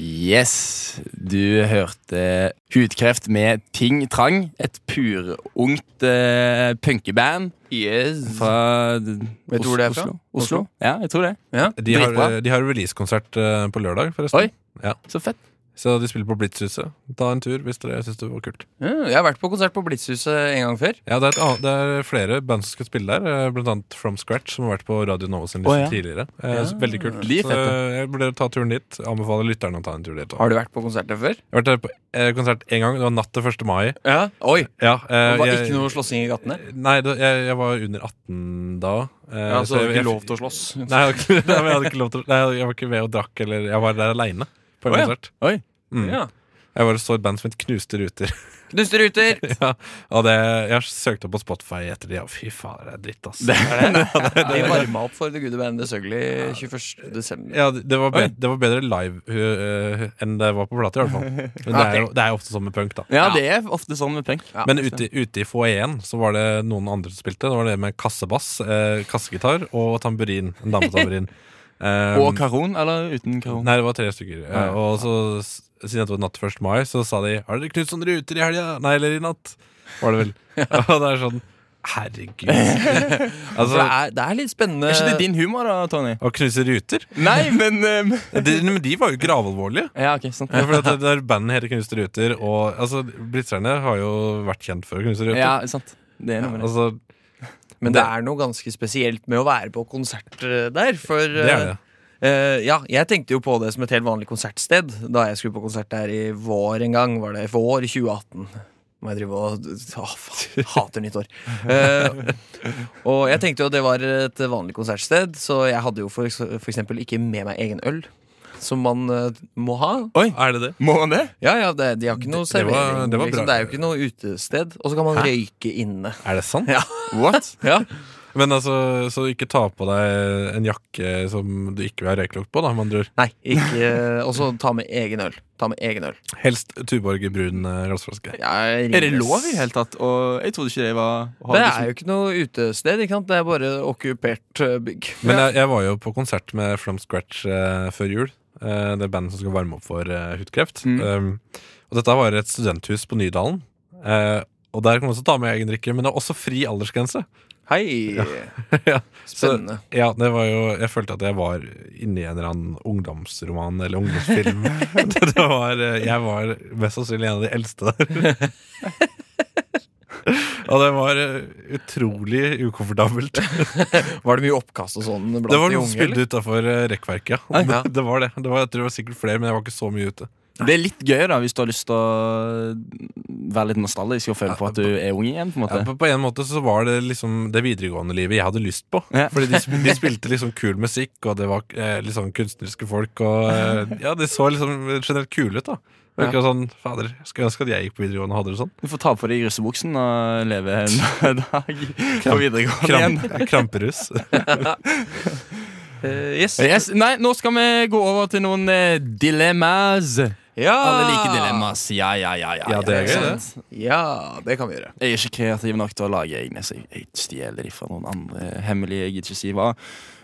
Yes, du hørte Hudkreft med Ting Trang. Et purungt eh, punkeband
Yes.
fra
Vet du hvor det er fra?
Oslo. Oslo? Ja, jeg tror det.
Ja.
De har,
Dritbra.
eh, de har releasekonsert eh, på lørdag, forresten.
Oi.
Ja.
Så fett.
Så de spiller på Blitzhuset. Ta en tur hvis dere syns det var kult.
Ja, Jeg har vært på konsert på Blitzhuset en gang før.
Ja, det er, et annet, det er flere band som skal spille der, eh, blant annet From Scratch, som har vært på Radio Nova sin
Å,
liste
ja.
tidligere. Eh,
Ja.
så Veldig kult.
De er
Så
fette.
eh, jeg burde ta turen dit. Anbefaler lytterne å ta en tur dit. også.
Har du vært på konsert der før?
Jeg har vært der på eh, konsert én gang. Det var natt til 1. mai.
Ja. Oi!
Ja, eh,
Det var
jeg-
ikke noe slåssing i gatene?
Nei, da- jeg, jeg var under 18 da. eh,
Ja, så
jeg-
hadde du Altså, ikke
jeg-
lov til å slåss.
Nei, jeg hadde ikke, nei, men jeg hadde ikke lov til å- Nei, jeg var ikke med og drakk, eller Jeg var der aleine på en
Å, ja.
konsert.
Oi.
Mm.
Ja.
Jeg var og så et band som het Knuste ruter.
Knuste ruter!
ja, og det, jeg har søkt opp på Spotify etter det, og fy faen, det er dritt, ass.
De varma opp for The Good Band The Sugly 21. desember.
Ja, det var, bedre, det var bedre live øh, øh, enn det var på plate, i hvert fall. Men det er jo det er jo ofte sånn med punk, da.
Ja,
Ja.
det er ofte sånn med punk.
Ja.
Men ute, ute i foajeen så var det noen andre som spilte. Det var det med kassebass, eh, kassegitar og tamburin. En dametamburin. Um,
Og karon, eller uten karon?
Nei, det var tre stykker. Eh,
Ja.
Og så, s- siden det var natt til 1. mai, så sa de 'Har dere knust sånne ruter i helga?' Nei, eller i natt, var det vel. Og det er sånn Herregud.
For det
altså,
er, det er litt spennende.
Er ikke det din humor, da, Tony?
å knuse ruter?
Nei, men um,
De, men de var jo gravalvorlige.
Ja, ok, sant.
Ja, for at det, det er bandet heter Knuste ruter, og altså, blitzerne har jo vært kjent for å knuse ruter.
Ja, sant. Det er noe med det.
Altså,
Men det er noe ganske spesielt med å være på konsert eh, der. For
det er det.
eh, ja, jeg tenkte jo på det som et helt vanlig konsertsted da jeg skulle på konsert der i vår en gang. Var det vår i 2018? Må jeg drive og Å, faen. Hater nytt år. Eh, og jeg tenkte jo at det var et vanlig konsertsted, så jeg hadde jo for, eks- for eksempel ikke med meg egen øl. Som man eh, må ha.
Er det det?
Må man det?
Ja, ja, det, De har ikke noe
Det- det var-
servering.
det
Det,
var bra.
liksom. det er jo ikke noe utested. Og så kan man
Hæ?
røyke inne.
Er det sant?
Ja.
What?
Ja.
Men altså, så ikke ta på deg en jakke som du ikke vil ha røyklukt på, da, med andre ord.
Nei, ikke eh, Og så ta med egen øl. Ta med egen øl.
Helst Tuborg i brun eh, glassflaske.
Jeg
Er det
rives.
lov i det hele tatt? Og jeg trodde ikke det liksom- var å ha
Det
som-
er jo ikke noe utested, ikke sant? Det er bare okkupert eh, bygg.
Men jeg, jeg var jo på konsert med From Scratch eh, før jul. Eh, det er bandet som skal varme opp for eh, hudkreft. Um, og dette var et studenthus på Nydalen. Eh, og der kan man også ta med egen drikke, men det er også fri aldersgrense.
Hei!
Ja.
Spennende.
Ja, det var jo, Jeg følte at jeg var inni en eller annen ungdomsroman eller ungdomsfilm. det, det var, eh, jeg var mest sannsynlig en av de eldste der. og det var eh, utrolig ukomfortabelt.
Var det mye oppkast og sånn blant
Det var
de
noen
unge?
som spilte utafor rekkverket, ja.
Nei.
Det,
Ja.
det var det. det var, jeg tror det var sikkert flere, men jeg var ikke så mye ute.
Det er litt gøy da, hvis du har lyst til å være litt nostalgisk og føle på at du er ung igjen. på en
Ja,
måte
på, på en måte så var det liksom det videregående livet jeg hadde lyst på.
Ja.
Fordi de, sp- de spilte liksom kul musikk, og det var eh, litt sånn kunstneriske folk, og eh, ja, de så liksom generelt kule ut, da. Det var ikke sånn, Fader, jeg skulle ønske at jeg gikk på videregående og hadde det sånn.
Du får ta på deg russebuksen og leve en dag på videregående igjen.
Kramp, kramperus.
Eh, yes.
Yes. Nei, nå skal vi gå over til noen eh, dilemmas.
Ja!
Alle liker dilemmas. Ja, ja, ja. ja,
Ja, det er gøy, det.
sant?
Ja, det kan vi gjøre.
Jeg er ikke kreativ nok til å lage egne, så jeg- jeg stjeler de fra noen andre hemmelige. Jeg gidder ikke si hva.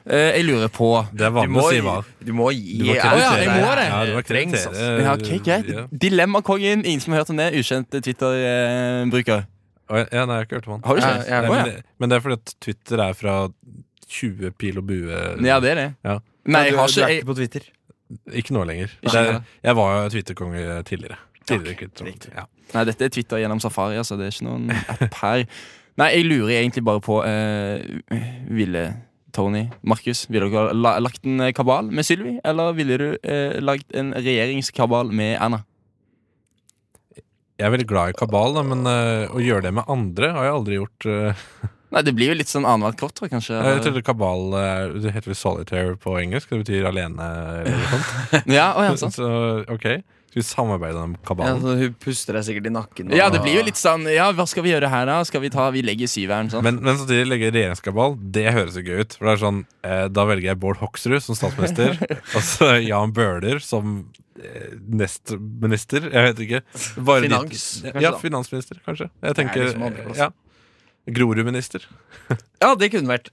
Eh, jeg lurer på
Det er
Du
vanlig
må,
å si hva.
du må gi
Du må
ja,
kreditere.
jeg må det.
Ja, du må
Trengs,
kreditere.
altså.
ja, ok, greit.
Eh, Ja.
Dilemmakongen. Ingen som har hørt om det? Ukjent Twitter-bruker.
Å, ja, nei, jeg har ikke hørt om han.
Har du ikke?
Ja, ja.
Nei,
Å,
men, det- men det er fordi at Twitter er fra 20 pil og bue
Ja, det er det.
Ja.
Nei, jeg har
du, du
ikke
er
jeg,
ikke på Twitter.
Ikke nå lenger.
Ikke
Det,
lenger.
jeg var jo Twitter-konge tidligere. Tidligere Twitter-konge. Ja.
Nei, dette er Twitter gjennom Safari, altså. Det er ikke noen app her. Nei, jeg lurer egentlig bare på eh, Ville Tony, Markus, ville dere ha la lagt en eh, kabal med Sylvi? Eller ville du eh, lagt en regjeringskabal med Anna?
Jeg er veldig glad i kabal, da, men eh, å gjøre det med andre har jeg aldri gjort. eh.
Nei, det blir jo litt sånn annethvert kort, tror jeg kanskje.
jeg trodde kabal eh, Det heter vel solitaire på engelsk, det betyr alene eller noe sånt.
Ja, å, ja, sånn.
Så,
sant.
så ok, skal vi samarbeide om
Ja,
kabalen?
så hun puster deg sikkert i nakken.
ja, det
Ah.
blir jo litt sånn Ja, hva skal vi gjøre her, da? Skal vi ta Vi legger syveren, sånn.
Men, men samtidig legge regjeringskabal, det høres jo gøy ut. For det er sånn, eh, Da velger jeg Bård Hoksrud som statsminister. og så Jan Bøhler som eh, nestminister. Jeg vet ikke. Bare de-
Finans, kanskje
ja,
da.
finansminister, kanskje. Jeg
Det er
tenker,
liksom andreplass.
ja Grorud-minister.
Ja, det kunne vært.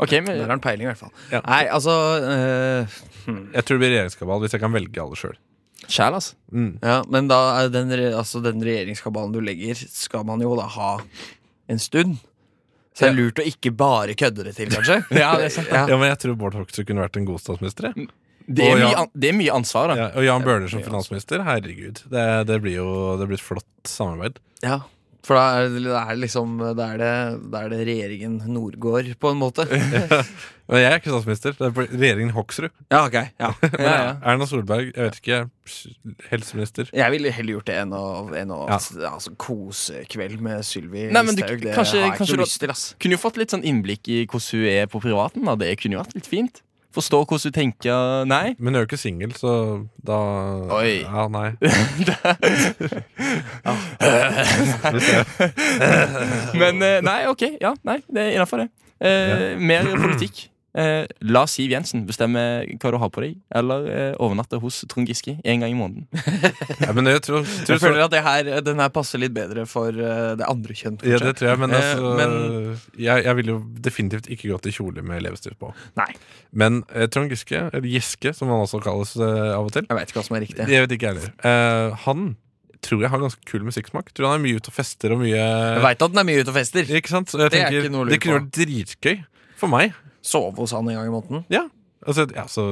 Ok,
Der
men
har han peiling, i hvert fall.
Ja.
Nei, altså eh,
Jeg tror det blir regjeringskabal hvis jeg kan velge alle sjøl.
Sjæl, altså.
Mm.
Ja, men da er den, re- altså, den regjeringskabalen du legger, skal man jo da ha en stund. Så det er lurt å ikke bare kødde det til, kanskje.
Ja, det er sant.
Ja. men jeg tror Bård Hoksrud kunne vært en god statsminister. jeg.
Det er,
Å, ja.
mye, an det er mye ansvar, da.
Ja, og Jan Bøhler som finansminister, herregud. Det, det blir jo det blir et flott samarbeid.
Ja, for da er det, det er liksom Da er det, da er det regjeringen Nordgård, på en måte.
Men jeg er ikke statsminister. Det er regjeringen Hoksrud.
Ja, ok. Ja.
Ja, ja.
Erna Solberg, jeg vet ikke, helseminister.
Jeg ville heller gjort det enn å, enn å
Ja.
altså, kosekveld med Sylvi
Nei, men du-
Listhaug. Det
kanskje-
har jeg
kanskje
ikke
du-
noe lyst til, ass.
Kunne jo fått litt sånn innblikk i hvordan hun er på privaten. da Det kunne jo vært litt fint. Forstå hvordan hun tenker Nei.
Men hun er jo ikke singel, så da
Oi.
Ja, nei.
Men eh, nei, ok. Ja, nei, det er innafor, det. Eh, Mer politikk. Eh, la Siv Jensen bestemme hva du har på deg, eller eh, overnatte hos Trond Giske én gang i måneden.
Ja, men jeg tror, tror
Jeg føler at det her, den her passer litt bedre for eh, det andre kjønn.
ja, det tror jeg, men,
Eh,
altså,
men-
jeg, jeg ville jo definitivt ikke gått i kjole med leppestift på.
Nei.
Men eh, Trond Giske, eller Giske som han også kalles eh, av og til
Jeg veit ikke hva som er riktig.
Jeg vet ikke jeg heller. Eh, han tror jeg har ganske kul musikksmak. Tror han er mye ute og fester og mye
Jeg veit at den er mye ute og fester.
Ikke sant? Så jeg
Det er
tenker,
ikke noe å lure
det kunne
på.
vært dritgøy for meg.
Sove hos han en gang i måneden.
Ja. Altså, ja, så,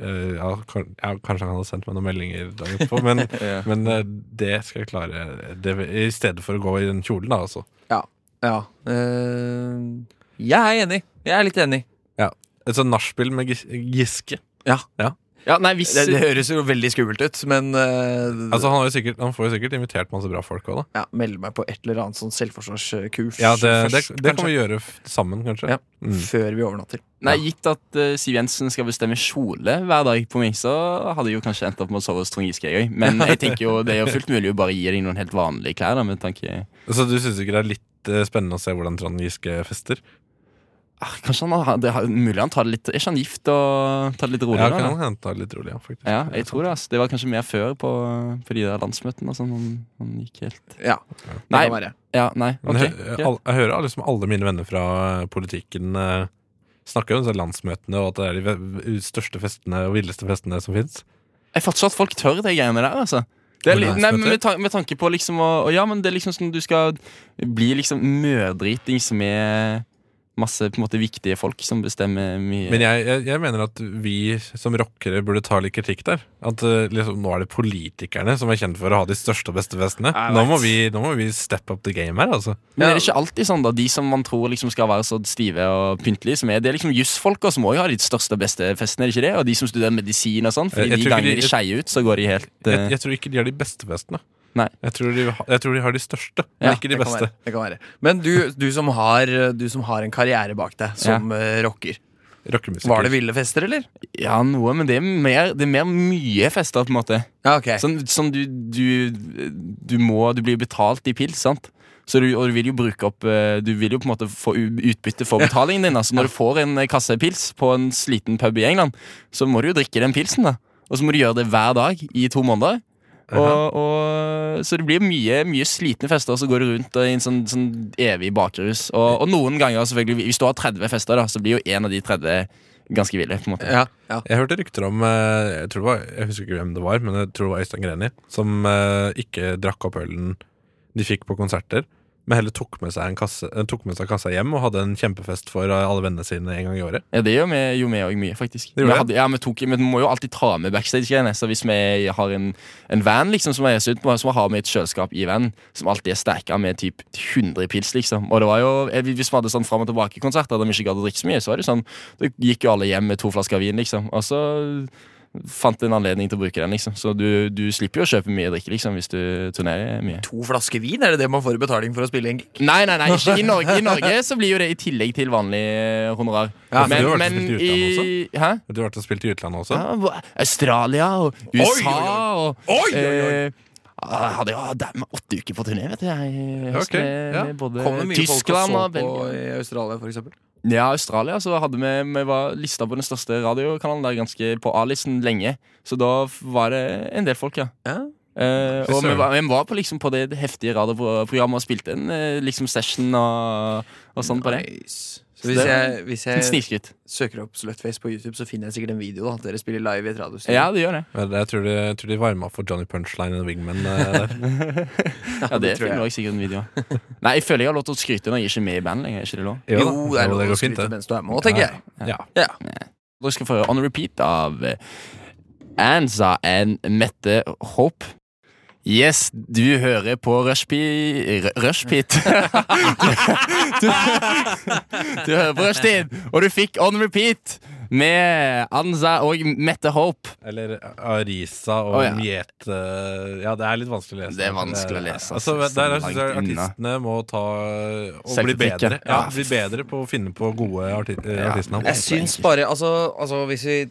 eh, ja, kan, ja, kanskje han hadde sendt meg noen meldinger dagen etterpå, men,
Ja.
men eh, det skal jeg klare. Det, I stedet for å gå i den kjolen, da, altså.
Ja. ja. Eh, jeg er enig. Jeg er litt enig.
Et sånt nachspiel med Gis- Giske.
Ja.
Ja, nei, hvis
Det, det høres jo veldig skummelt ut, men eh,
Altså, han, har jo sikkert, han får jo sikkert invitert masse bra folk òg, da.
ja, melde meg på et eller annet sånn selvforsvarskurs
Ja, det, det,
først,
det kan
kanskje.
vi gjøre f- sammen, kanskje. Mm.
Ja. Før vi overnatter.
Nei, Gitt at eh, Siv Jensen skal bestemme kjole hver dag på meg, så hadde jeg jo kanskje endt opp med å sove hos Trond Giske. Jeg. også. Men jeg tenker jo det er jo fullt mulig å bare gi deg noen helt vanlige klær. da, med tanke
Så du syns ikke det er litt eh, spennende å se hvordan Trond Giske fester?
ah, Kanskje han har, det, har- Mulig han tar det litt Er ikke han gift og tar det litt rolig?
Ja,
da,
kan
da?
han hente litt rolig, ja, faktisk.
Ja, jeg tror det. ass. Det var kanskje mer før på, på de der landsmøtene. og Sånn. Han, han gikk helt
Ja.
Nei.
Det kan være.
Ja, nei,
Men
ok.
hø-
greit.
all, jeg hører alle- liksom alle mine venner fra eh, politikken eh, snakke om disse landsmøtene, og at det er de ve- største festene og villeste festene som fins.
Jeg fatter ikke at folk tør de greiene der, altså. Det er litt, nei, men med, tan med tanke på liksom å å- Ja, men det er liksom sånn du skal bli liksom mødritings med masse på en måte viktige folk som bestemmer mye.
Men jeg, jeg, jeg mener at vi som rockere burde ta litt kritikk der. At eh, liksom, nå er det politikerne som er kjent for å ha de største og beste festene.
Jeg
Nå
vet.
må, vi, nå må vi step up the game her, altså.
Men er det ikke alltid sånn, da? De som man tror liksom skal være så stive og pyntelige som er. Det er liksom jussfolka som òg har de største og beste festene, er det ikke det? Og de som studerer medisin og sånn.
Jeg-
Fordi
jeg
de
tror ikke
gangene
de-
de skeier ut, så går de helt
Jeg,
eh,
jeg tror ikke de har de beste festene.
Nei.
Jeg tror de, ha- jeg tror de har de største, men
Ja,
ikke de
Det kan
beste.
være. Det kan være. Men du, du, som har, du som har en karriere bak deg som eh, rocker,
Rockemusikere.
var det ville fester, eller?
eh, Ja, noe, men det er mer, det er mer mye fester, på en måte.
Ja, ok.
Sånn, sånn du, du, du må Du blir betalt i pils, sant? Så du, og du vil jo bruke opp eh, Du vil jo på en måte få u- utbytte for betalingen din. da. Så når du får en eh, kasse pils på en sliten pub i England, så må du jo drikke den pilsen. da Og så må du gjøre det hver dag i to måneder. Og, og, så det blir mye, mye slitne fester som går du rundt og i en sånn, sånn evig bakrus. Og, og noen ganger, selvfølgelig, hvis du har 30 fester, da, så blir jo en av de 30 ganske ville. på en måte
Ja, ja.
Jeg hørte rykter om eh, jeg, tror det var, jeg husker ikke hvem det var, men jeg tror det var Øystein Greni. Som eh, ikke drakk opp ølen de fikk på konserter, men heller tok med seg, en kasse, eh, tok med seg kassa hjem og hadde en kjempefest for eh, alle vennene sine en gang i året.
Ja, Det gjør vi jo vi òg mye, faktisk.
Det
Vi,
gjør det?
hadde, ja, vi, tok, vi må jo alltid ta med backstage-greiene. Så hvis vi har en, en van liksom som vi reiser ut med, så har vi et kjøleskap i vanen som alltid er stacka med typ 100 pils. liksom Og det var jo, eh, Hvis vi hadde sånn fram og tilbake-konserter der vi ikke gadd å drikke så mye, så var det sånn, da gikk jo alle hjem med to flasker vin, liksom. Og så fant en anledning til å bruke den, liksom. Så du, du slipper jo å kjøpe mye drikke liksom hvis du turnerer mye.
To flasker vin, er det det man får i betaling for å spille en gig?
Nei, nei, nei, ikke i Norge. I Norge så blir jo det i tillegg til vanlig eh, honorar.
Ja, for du har vært litt i utlandet
Hæ?
Du har vært og spilt i utlandet også?
Ja, hva- Australia og USA
Oi,
og
Oi, oi, oi.
eh, jeg hadde jo damn, åtte uker på turné, vet du. Jeg, i høst
Ok,
med,
ja.
med både
Kom det mye
Tyskland
folk
og
og så på
Belgia.
i Australia, for eksempel?
Ja, Australia så hadde vi, vi var lista på den største radiokanalen der ganske på A-listen lenge. Så da f- var det en del folk, ja.
Ja.
Eh,
Fy
og vi
søren.
var, vi var på, liksom, på det heftige radioprogrammet og spilte en eh, liksom session og, og sånn på det.
Nice. Så hvis
det-
jeg, hvis
Litt
jeg
Snikskryt.
søker opp Slutface på YouTube, så finner jeg sikkert en video da at dere spiller live i et radiostudio.
Ja, det gjør det.
Vel, Jeg tror de, jeg tror de varma for Johnny Punchline og Wingman eh,
Ja,
der.
det
det tror jeg.
finner jeg sikkert en video av. Nei, jeg føler jeg har lov til å skryte når jeg ikke er med i band lenger. er ikke det lov?
Jo, det er lov å
går fint,
skryte
det.
mens du er med òg, tenker
Ja,
jeg.
Ja.
Ja.
Dere Eh, skal få høre On Repeat av eh, Anza and Mette Hope. Yes, du hører på Rushpi... Ru- Rushpit. du, du, du hører på Rushtid, og du fikk On Repeat med Anza og Mette Hope.
Eller Arisa og
Å, ja.
Mjet eh, Ja, det er litt vanskelig å lese.
Det er vanskelig å lese,
Altså,
altså,
der
så
syns jeg
langt unna.
artistene må ta og bli
Selvkritikk, ja.
bedre. Ja,
Ja.
bli bedre på å finne på gode arti eh,
Ja.
artistnavn.
Jeg syns bare Altså, altså hvis vi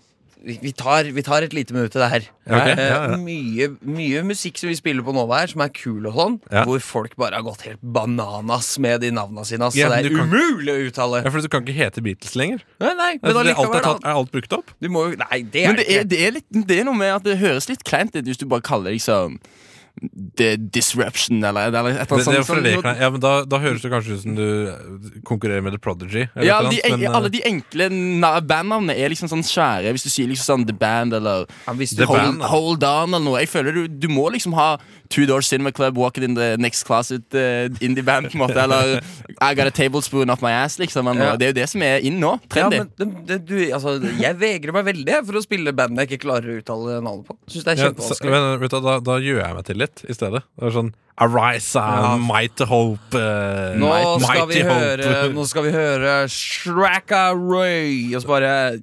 vi, vi, tar, vi tar et lite minutt til det her.
Ja, ok. Ja, ja.
Eh, mye, mye musikk som vi spiller på nå her, som er kul og sånn,
Ja.
hvor folk bare har gått helt bananas med de navna sine. ass.
Ja,
så
men
det
du
er
kan-
umulig å uttale.
Ja, for Du kan ikke hete Beatles lenger.
Nei, nei, men
Altså, det, alt er,
allikevel,
tatt,
da.
er alt brukt opp?
Du må jo Nei, det er
Men det
ikke
er, det, er litt, det er noe med at det høres litt kleint ut hvis du bare kaller det liksom The Disruption eller, eller et
Det,
eller
det
annet
er for
sånt.
det,
sånn-
ja, men da, da høres det kanskje ut som du konkurrerer med The Prodigy. eller
Ja,
et eller
de,
annet, men, eh,
alle de enkle na- bandnavnene er liksom sånn svære. Hvis du sier liksom sånn The Band eller
Ja, hvis du
The
holder-
Band,
Hold,
da.
hold On eller noe. Jeg føler du, du må liksom ha Two Door Cinema Club, Walking in the Next Class ut, eh, Indie Band, på en måte. Eller I Got a Tablespoon Up My Ass, liksom. Eller,
Ja.
noe. Det er jo det som er inn nå.
Ja,
Trendy.
men det, det, du, altså, jeg vegrer meg veldig jeg, for å spille band jeg ikke klarer å uttale navnet på. Synes det er
eh, ja, så,
kjempevanskelig
men, vet du, da, da gjør jeg meg til litt i stedet. Det er sånn Arise,
Ja.
mighty hope eh,
nå,
mighty
skal vi
hope.
høre, nå skal vi høre Shraka Ray, og så bare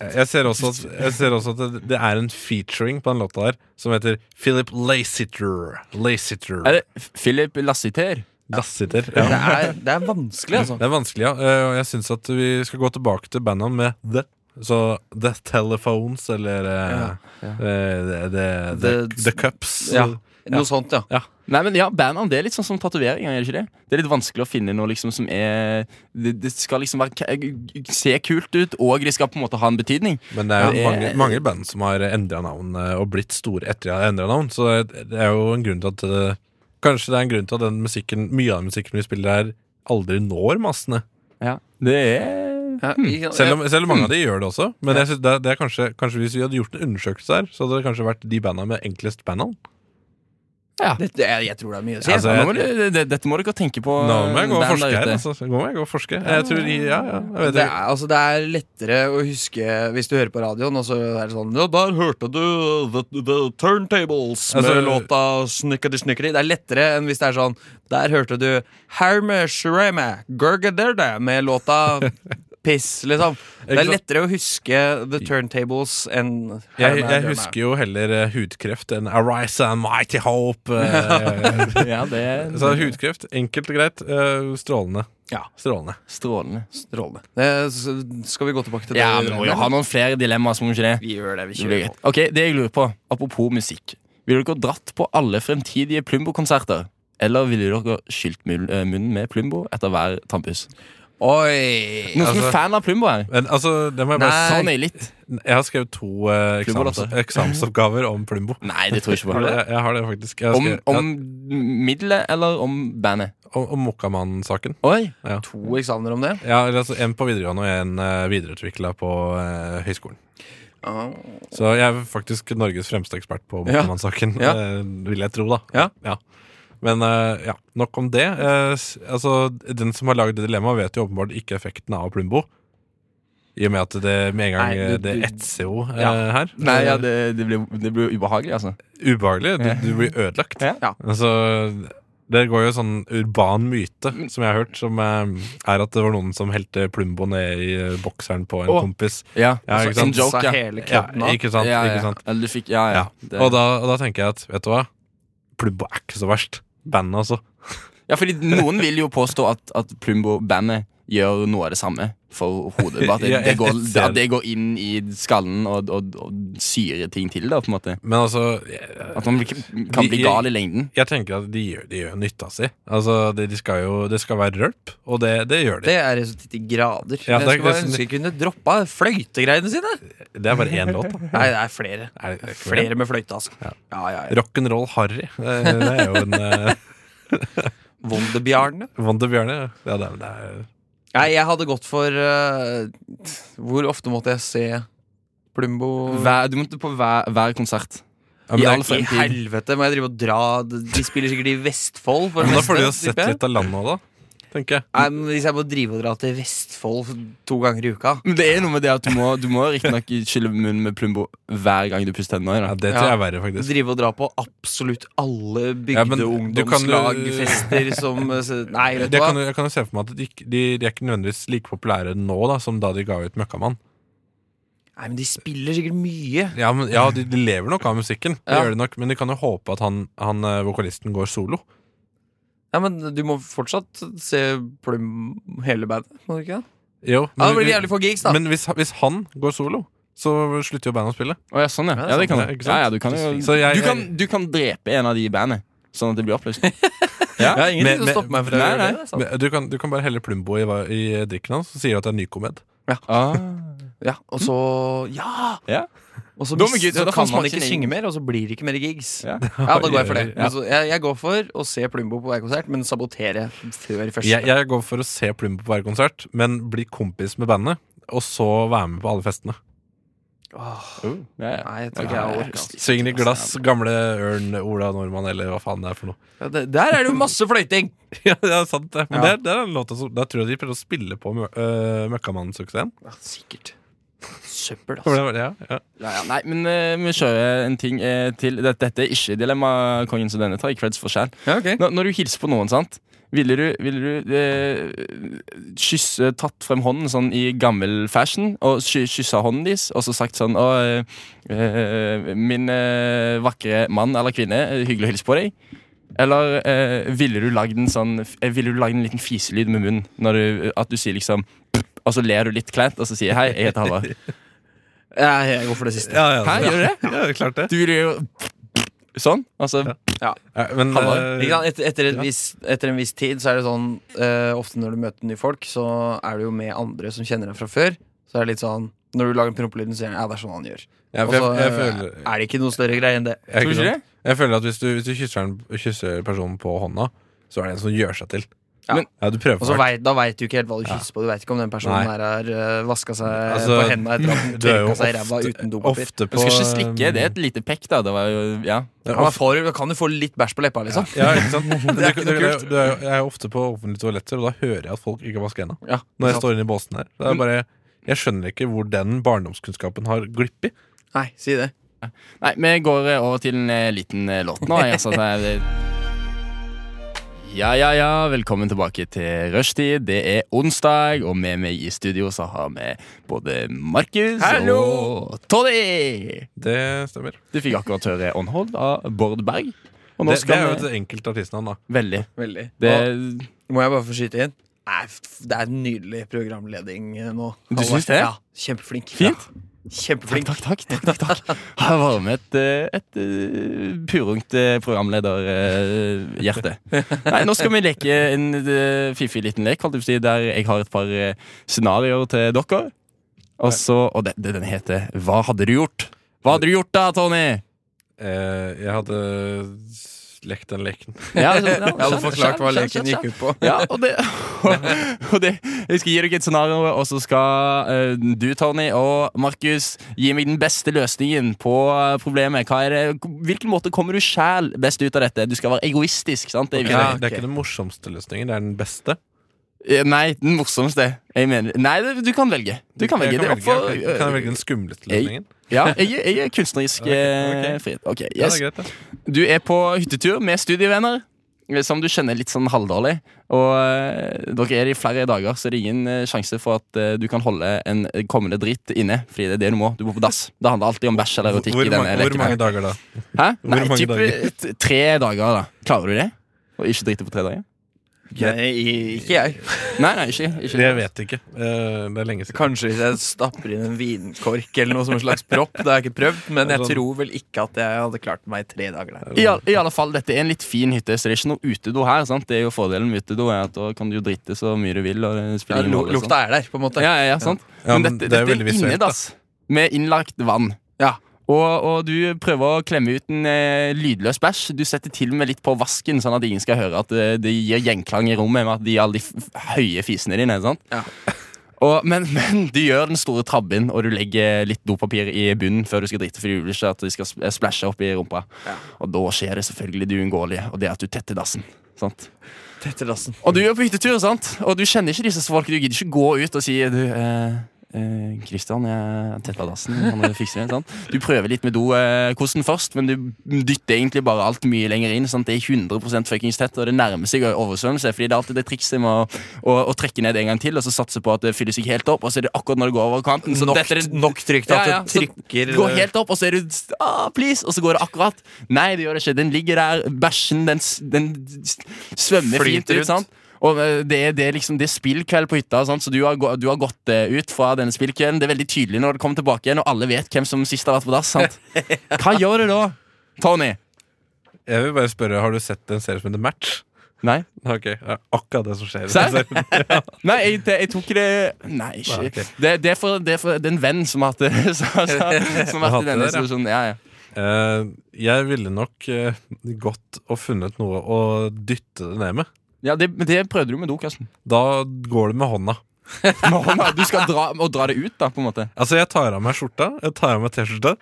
Eh, Jeg ser også at, jeg ser også at det, det er en featuring på den låta der som heter Philip Lassiter. Lassiter.
Er det F- Philip Lassiter?
Lassiter.
det
Ja.
er, det er vanskelig, altså.
Det er vanskelig, ja. Eh, Og jeg syns at vi skal gå tilbake til bandene med The. Så The Telephones eller eh, eh, the, the,
The-
the, the Cups.
Ja, noe sånt, ja.
Nei, men ja, Bandnavn det er litt sånn som tatoveringer. er Det ikke det? Det er litt vanskelig å finne noe liksom som er Det, det skal liksom være k- se kult ut, og det skal på en måte ha en betydning.
Men det er jo
Ja,
mange,
eh,
mange band som har endra navn eh, og blitt store etter at de har endra navn, så det det er jo en grunn til at eh, Kanskje det er en grunn til at den musikken, mye av den musikken vi spiller her, aldri når massene.
Ja, det er Hmm.
ja. ikke-
Selv om, selv om mange av de gjør det også. Men jeg synes det, er- det er kanskje, kanskje hvis vi hadde gjort en undersøkelse her, så hadde det kanskje vært de banda med enklest bandnavn.
det, det, jeg, jeg tror det er mye å si.
Altså,
Ja,
jeg-
nå må du, Eh, det, dette må dere tenke på.
Nå må jeg gå og
band der
forske her.
ute.
Altså. Nå må jeg gå og forske. Jeg tror, ja, ja, jeg vet
det,
ikke.
er, altså, det er lettere å huske hvis du hører på radioen, og så er det sånn Ja, der hørte du uh, The, the Turntables med
Altså-
låta Snikkeri Snikkeri. Det er lettere enn hvis det er sånn Der hørte du Herme Shreme Gurgaderde med låta Piss, liksom. Det er
sant?
lettere å huske The Turntables enn
Jeg,
Herme
jeg
Shreme.
husker jo heller eh, hudkreft enn Arise and Mighty Hope. eh,
Ja, det er
Så hudkreft, enkelt og greit. eh, Strålende.
Ja.
Strålende.
strålende.
Strålende. Eh, så Skal vi gå tilbake til det?
Ja, men vi må jo ha noen flere dilemmaer, som ikke det.
Vi gjør det. Vi
Det blir
kjører
greit. Ok, det jeg lurer på, apropos musikk. Ville dere dratt på alle fremtidige Plumbo-konserter? Eller ville dere skylt mul- eh, munnen med Plumbo etter hver tannpuss?
på. Oi!
Noen som
Altså-
er fan av Plumbo her?
Men altså, det må jeg
Nei.
bare
sa
si.
han nei Sånn litt.
Jeg har skrevet to eh,
Plumbo,
eksamens,
altså.
eksamensoppgaver om Plumbo.
Nei, det tror jeg ikke
Har
på.
du det? Jeg, jeg har det faktisk. Jeg har
Om,
skrevet-
om middelet eller om bandet?
ja, om, om Mokkamann-saken.
Oi!
To eksamener om det.
Ja, eller altså, en på videregående og en uh, videreutvikla på eh, høyskolen.
Ah.
Så jeg er faktisk Norges fremste ekspert på
Ja.
Mokkamann-saken,
Ja.
eh, vil jeg tro, da.
Ja.
Men eh, ja, nok om det. Eh, s- altså, den som har lagd det dilemmaet, vet jo åpenbart ikke effekten av Plumbo. I og med at det med en gang
Nei,
eh,
du-
det
du-
etser jo eh,
Ja.
her. Eh,
Nei, ja, det, det, blir, det blir jo ubehagelig, altså.
Ubehagelig. Du,
Ja.
du blir ødelagt.
Ja.
Ja.
Altså, det går jo en sånn urban myte som jeg har hørt, som eh, er at det var noen som helte Plumbo ned i eh, bokseren på en
Å.
kompis.
Ja,
Ja, ikke sant?
En joke,
Sa
ja.
hele
Ja,
kødden av.
ikke sant?
ja, ja.
Ikke sant?
Eller du fikk, ja, ja.
Ja.
Det-
Og, da, og da tenker jeg at, vet du hva? Plumbo er ikke så verst. Bandet, altså.
ja, fordi noen vil jo påstå at, at Plumbo-bandet gjør noe av det samme for hodet. Bare at det,
Ja,
det,
jeg-
går,
jeg ser
at det går inn i skallen og, og, og syrer ting til, da, på en måte.
Men altså jeg,
At man blir- kan bli gal i lengden.
jeg tenker at de gjør, de gjør nytta si. Altså, de, de skal jo Det skal være rølp, og det, det gjør de.
Det er resultat i grader.
Ja, det er
jeg skulle
ikke-
ønske jeg kunne droppa fløytegreiene sine.
Det, er bare én låt, da.
Nei, det er flere.
Er det ikke
Flere med fløyte, altså.
Ja.
Ja, ja, ja.
Rock'n'roll Harry. Det, det er jo en eh,
Wonderbjarne.
Wonderbjørne, ja. ja det, er- det er
Nei, jeg hadde gått for eh, Hvor ofte måtte jeg se Plumbo?
Hver, du måtte på hver, hver konsert.
ja, men
I
det er
all
I
fremtid.
helvete, må jeg drive og dra De spiller sikkert i Vestfold. For det
Men da
meste,
får du jo
tipper
sett
jeg.
litt av landet òg, da. Tenker jeg.
Nei, men Hvis jeg må drive og dra til Vestfold to ganger i uka
Men det er noe med det at du må, du må riktignok skylle munnen med Plumbo hver gang du pusser tennene.
Ja,
da.
det tror
Ja.
jeg er verre, faktisk.
Drive og dra på absolutt alle
Ja, men du kan jo-
bygdeungdomslagfester som eh, se- Nei, vet du
Det
hva.
kan, jo- jeg kan jo se for meg at de, ikke- de, de er ikke nødvendigvis like populære nå da som da de ga ut Møkkamann.
Nei, men De spiller sikkert mye.
Ja, men, ja de, de lever nok av musikken, det
Ja.
gjør de nok, men de kan jo håpe at han, han eh, vokalisten går solo.
Ja, men Du må fortsatt se Plum hele bandet. må du ikke det?
Jo,
Ja, Det blir jævlig få gigs, da.
men hvis, hvis han går solo, så slutter jo bandet å spille.
Å, ja, sånn, ja.
Ja,
ja, det
sånn,
kan
ja,
du.
ikke sant?
Ja, ja, du, kan jo,
Så
du,
jeg-
kan, du kan drepe en av de i bandet, sånn at det blir oppløst.
ja, ingenting
men-
som
men-
stopper meg fra å
nei,
gjøre
nei.
det. altså. det er sant.
Men Du kan, du kan bare helle Plumbo i, hva- i drikken hans og sier at det er nykomed.
Ah.
Ja, og så Ja!
Ja.
Og så,
Da må gutt-
så
da får
kan man
smaken
ikke
inn.
synge mer, og så blir det ikke mer gigs. Ja,
Ja.
da går jeg for det.
Ja.
Men så, jeg, jeg går for å se Plumbo på hver konsert, men sabotere før første.
Jeg, jeg går for å se Plumbo på hver konsert, men bli kompis med bandet, og så være med på alle festene.
Åh,
Ja, ja.
nei, jeg tror ikke jeg orker. altså. ass.
Sving i glass, gamle Ørn, Ola Nordmann, eller hva faen det er for noe.
Ja, det, der er det jo masse fløyting!
Ja, det er sant, det. Men
Ja.
det, er, det er den låta som Da tror jeg de prøver å spille på mø- øh, Møkkamannen-suksessen.
Ja, sikkert. Søppel,
For
altså.
det var- Ja, ja.
Ja, ja, nei, men eh, vi kjører en ting eh, til. Dette, dette er ikke dilemma, kongen, så denne tar jeg creds for sjæl.
Ja, ok.
Når, når du hilser på noen, sant ville du, ville du eh, kysse Tatt frem hånden sånn i gammel fashion og ky kyssa hånden deres, og så sagt sånn Å, eh, eh, min eh, vakre mann eller kvinne, eh, hyggelig å hilse på deg. Eller eh, ville du lagd en sånn eh, Ville du lagd en liten fiselyd med munnen? Når du, at du sier liksom Og så ler du litt kleint, og så sier jeg hei, jeg heter Halvard.
Ja, jeg går for det siste.
ja, ja
Hæ, gjør du det?
Ja, det er klart det.
Du ville jo Sånn. Altså
Ja, men,
Halvor,
øh,
Ikke sant? Etter, etter, en
Ja.
viss, etter en viss tid så er det sånn eh, Ofte når du møter nye folk, så er du jo med andre som kjenner deg fra før. Så er det litt sånn Når du lager prompelyden, så sier han ja, det er sånn han gjør.
ja,
Og
for jeg,
så
jeg,
eh,
føler,
er det ikke noe større greie enn det.
jeg, sånn-
Tror du ikke det?
jeg føler at hvis du, hvis du kysser, en, kysser personen på hånda, så er det en som gjør seg til.
Ja.
Men- ja du
Og
prøver for
så
hardt.
vet, Da veit du ikke helt hva du kysser på. Du vet ikke om den personen
Nei.
her har uh, vaska seg
Altså,
på henda etter at den
Du er jo
tørka seg i ræva uten dopapir.
ofte på eh, øh,
Du skal ikke slikke. Det er et lite pekk, da. Det var jo, ja
Ja, man får, da kan du få litt bæsj på leppa, liksom.
Ja, ikke sant? Men
Det er ikke
du-
noe
du-
kult.
du er jo- Jeg er jo ofte på offentlige toaletter, og da hører jeg at folk ikke vasker hendene.
Ja,
Når jeg
sant.
står inne i båsen her. Det er bare, jeg skjønner ikke hvor den barndomskunnskapen har glipp i.
Nei, si det.
Nei, vi går eh, over til en eh, liten eh, låt nå. Jeg, altså, det er Ja, ja, ja. Velkommen tilbake til rushtid. Det er onsdag, og med meg i studio så har vi både Markus
Hallo!
og Toddy.
Det stemmer.
Du fikk akkurat høre On Hold av Bård Berg. Og nå
Det, det er
skal
jo
vi
et enkelt artistnavn, da.
Veldig.
Veldig.
Det,
Må jeg bare få skyte inn? Nei, f- Det er en nydelig programleding eh, nå.
Du
Halvard.
syns det?
Ja, Kjempeflink.
Fint.
Ja. Kjempeflink.
Takk, takk, takk, takk, takk, takk. Her varmer et, eh, et eh, purungt programlederhjerte. Nei, nå skal vi leke en eh, fiffig liten lek, holdt jeg på å si, der jeg har et par eh, scenarioer til dere. Og så, og det, det, den heter Hva hadde du gjort? Hva hadde du gjort da, Tony?
Eh, jeg hadde lekt den leken.
Ja, altså, så- ja,
altså, Jeg hadde
skjønn,
forklart hva
skjønn, skjønn, skjønn.
leken gikk ut på.
Ja, og det, og det Jeg skal gi dere et scenario, og så skal eh, du, Tony, og Markus gi meg den beste løsningen på eh, problemet. Hva er det, hvilken måte kommer du sjæl best ut av dette? Du skal være egoistisk. sant? Det er
Ja,
viktig.
Det er ikke den morsomste løsningen, det er den beste.
Eh, Nei, den morsomste. Jeg mener Nei, det- du kan velge. Du kan velge.
Jeg
Det er
kan,
opp
velge,
for-
jeg kan, kan jeg velge den skumleste
Jeg-
løsningen?
Ja, jeg, jeg er kunstnerisk eh,
Ok, ok.
frihet. Ok,
Ja,
yes.
det er greit, det.
Du er på hyttetur med studievenner eh, som du kjenner litt sånn halvdårlig. Og eh, dere er i flere dager, så det er ingen eh, sjanse for at eh, du kan holde en kommende dritt inne. Fordi det er det du må. Du må på dass. Det handler alltid om bæsj eller
Hvor,
erotikk. i
mange,
denne
hvor
leken her.
mange dager da?
Hæ?
hvor
Nei,
mange
typ,
dager?
eh, t- tre dager, da. Klarer du det? Å ikke drite på tre dager?
Nei, ikke jeg.
Nei, nei, ikke. ikke.
Jeg vet ikke. Eh, det er lenge siden.
Kanskje hvis jeg stapper inn en vinkork eller noe som en slags propp. Det har jeg ikke prøvd, men jeg
sånn-
tror vel ikke at jeg hadde klart meg i tre dager der.
I, al- I alle fall, dette er en litt fin hytte, så det er ikke noe utedo her. sant? Det er jo Fordelen med utedo er at da kan du jo drite så mye du vil. og det sånn.
Ja,
spiller ingen
lu-
rolle, sant?
lukta er der, på en måte.
Ja, ja, ja, sant?
Ja,
men,
men
dette,
det er jo
dette
veldig
er
visuelt,
innedass med innlagt vann.
Ja.
Og, og du prøver å klemme ut en eh, lydløs bæsj. Du setter til og med litt på vasken, sånn at ingen skal høre at eh, det gir gjenklang i rommet med at de alle de f høye fisene dine. Sant?
Ja.
Og, men, men du gjør den store tabben, og du legger litt dopapir i bunnen før du skal drite, fordi du vil ikke at de skal sp- splæsje opp i rumpa. Og da skjer det selvfølgelig det uunngåelige, og det er at du tetter dassen. Sant?
Tetter dassen.
Og du er på hyttetur, sant? Og du kjenner ikke disse folk. Du gidder ikke gå ut og si du, eh, eh, Christian, jeg tetta dassen. Han må fikse det. sant? Du prøver litt med dokosten først, men du dytter egentlig bare alt mye lenger inn. sant? Det er 100 fuckings tett, og det nærmer seg oversvømmelse. fordi det er alltid det trikset med å, å, å trekke ned en gang til, og så satse på at det fyller seg helt opp, og så er det akkurat når det går over kanten. så
Nok,
detter det-
nok trygt at
Ja, ja,
det
så
trykker eh,
det går helt opp, og så er du ah, Please! Og så går det akkurat. Nei, det gjør det ikke. Den ligger der. Bæsjen, den, s- den s- svømmer fint
Flyter ut.
ut. sant? Og eh, det, er- det, er liksom, det er spillkveld på hytta, sant? så du har, gå- du har gått eh, ut fra denne spillkvelden. Det er veldig tydelig når du kommer tilbake igjen, og alle vet hvem som sist har vært på dass. sant? Hva gjør du da, Tony?
Jeg vil bare spørre, Har du sett en serie som heter Match?
Nei,
Ok, det er akkurat det sånn- som skjer.
Serr? Nei jeg, det, jeg tok det Nei, ikke.
Nei, ok.
Det, det, er for, det er for det er en venn som har hatt det. Som har hatt
Hadde
denne
det, ja.
situasjonen. Ja, ja.
Eh, jeg ville nok eh, gått og funnet noe å dytte det ned med.
ja det, men det prøvde du med do, Karsten.
Da går det med hånda.
Med hånda. Du skal dra, og dra det ut, da, på en måte.
Altså, jeg tar av meg skjorta, jeg tar av meg T-skjorta.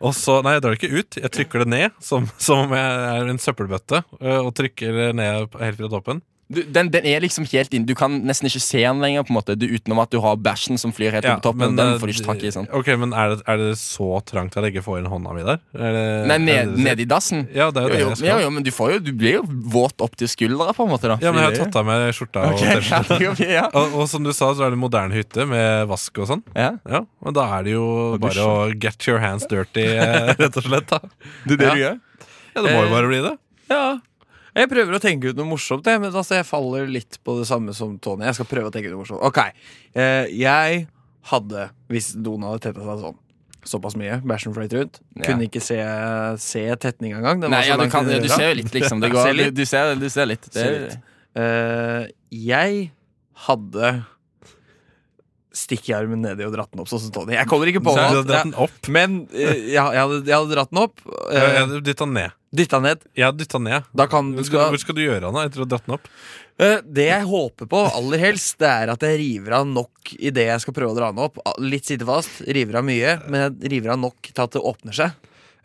Og så, Nei, jeg drar det ikke ut. Jeg trykker det ned, som, som om jeg er en søppelbøtte. eh, Og trykker det ned helt fra toppen.
Du, den, den er liksom helt inn Du kan nesten ikke se den lenger, på en måte du, utenom at du har bæsjen som flyr helt opp på toppen. og
eh,
den får du ikke tak i. sant?
Ok, men er det, er det så trangt at jeg ikke får inn hånda mi der? Er det,
Nei,
er
ned,
det det du sier?
ned i dassen.
Ja, det
Jo,
er jo det
jo,
jeg
jo,
skal.
jo, men du, får jo, du blir jo våt opp til skuldra, på en måte. da
Ja, men jeg har
Fordi-
tatt av meg skjorta
Ok,
og T-skjorta.
ja, ok, ja.
Og, og som du sa, så er det en moderne hytte med vask og sånn.
Ja.
Ja, Men da er det jo
Og
bare å get your hands dirty, eh, rett og slett. da
Det er det du gjør?
Ja, Det må jo bare bli det.
Ja. Jeg prøver å tenke ut noe morsomt, jeg, men altså, jeg faller litt på det samme som Tony. Jeg skal prøve å tenke ut noe morsomt. Ok, eh, Jeg hadde, hvis doen hadde tetta seg sånn såpass mye, bæsjen fløyt rundt,
Ja.
kunne ikke se, se tetninga engang. Den var
Nei,
så
ja, du,
langt
kan,
inn
du
i røra.
ser jo litt, liksom. Det
Ja, ser
går, du,
litt.
du, ser, du ser litt. Det,
Ser litt. Eh, jeg hadde stikket armen nedi og dratt den opp, sånn som Tony. Jeg kommer ikke på
Så
noe
jeg hadde
annet.
dratt den opp.
Jeg- Men eh, jeg, jeg, hadde, jeg hadde dratt den opp,
Jeg
eh,
hadde dytta den ned.
dytta ned.
Jeg hadde dyttet den ned.
Da kan
Hvor skal, hvor skal du gjøre av den da, etter å ha dratt den opp?
Eh, Det jeg håper på aller helst, det er at jeg river av nok i det jeg skal prøve å dra den opp. Ah, Litt sitte fast, river av mye, men jeg river av nok til at det åpner seg.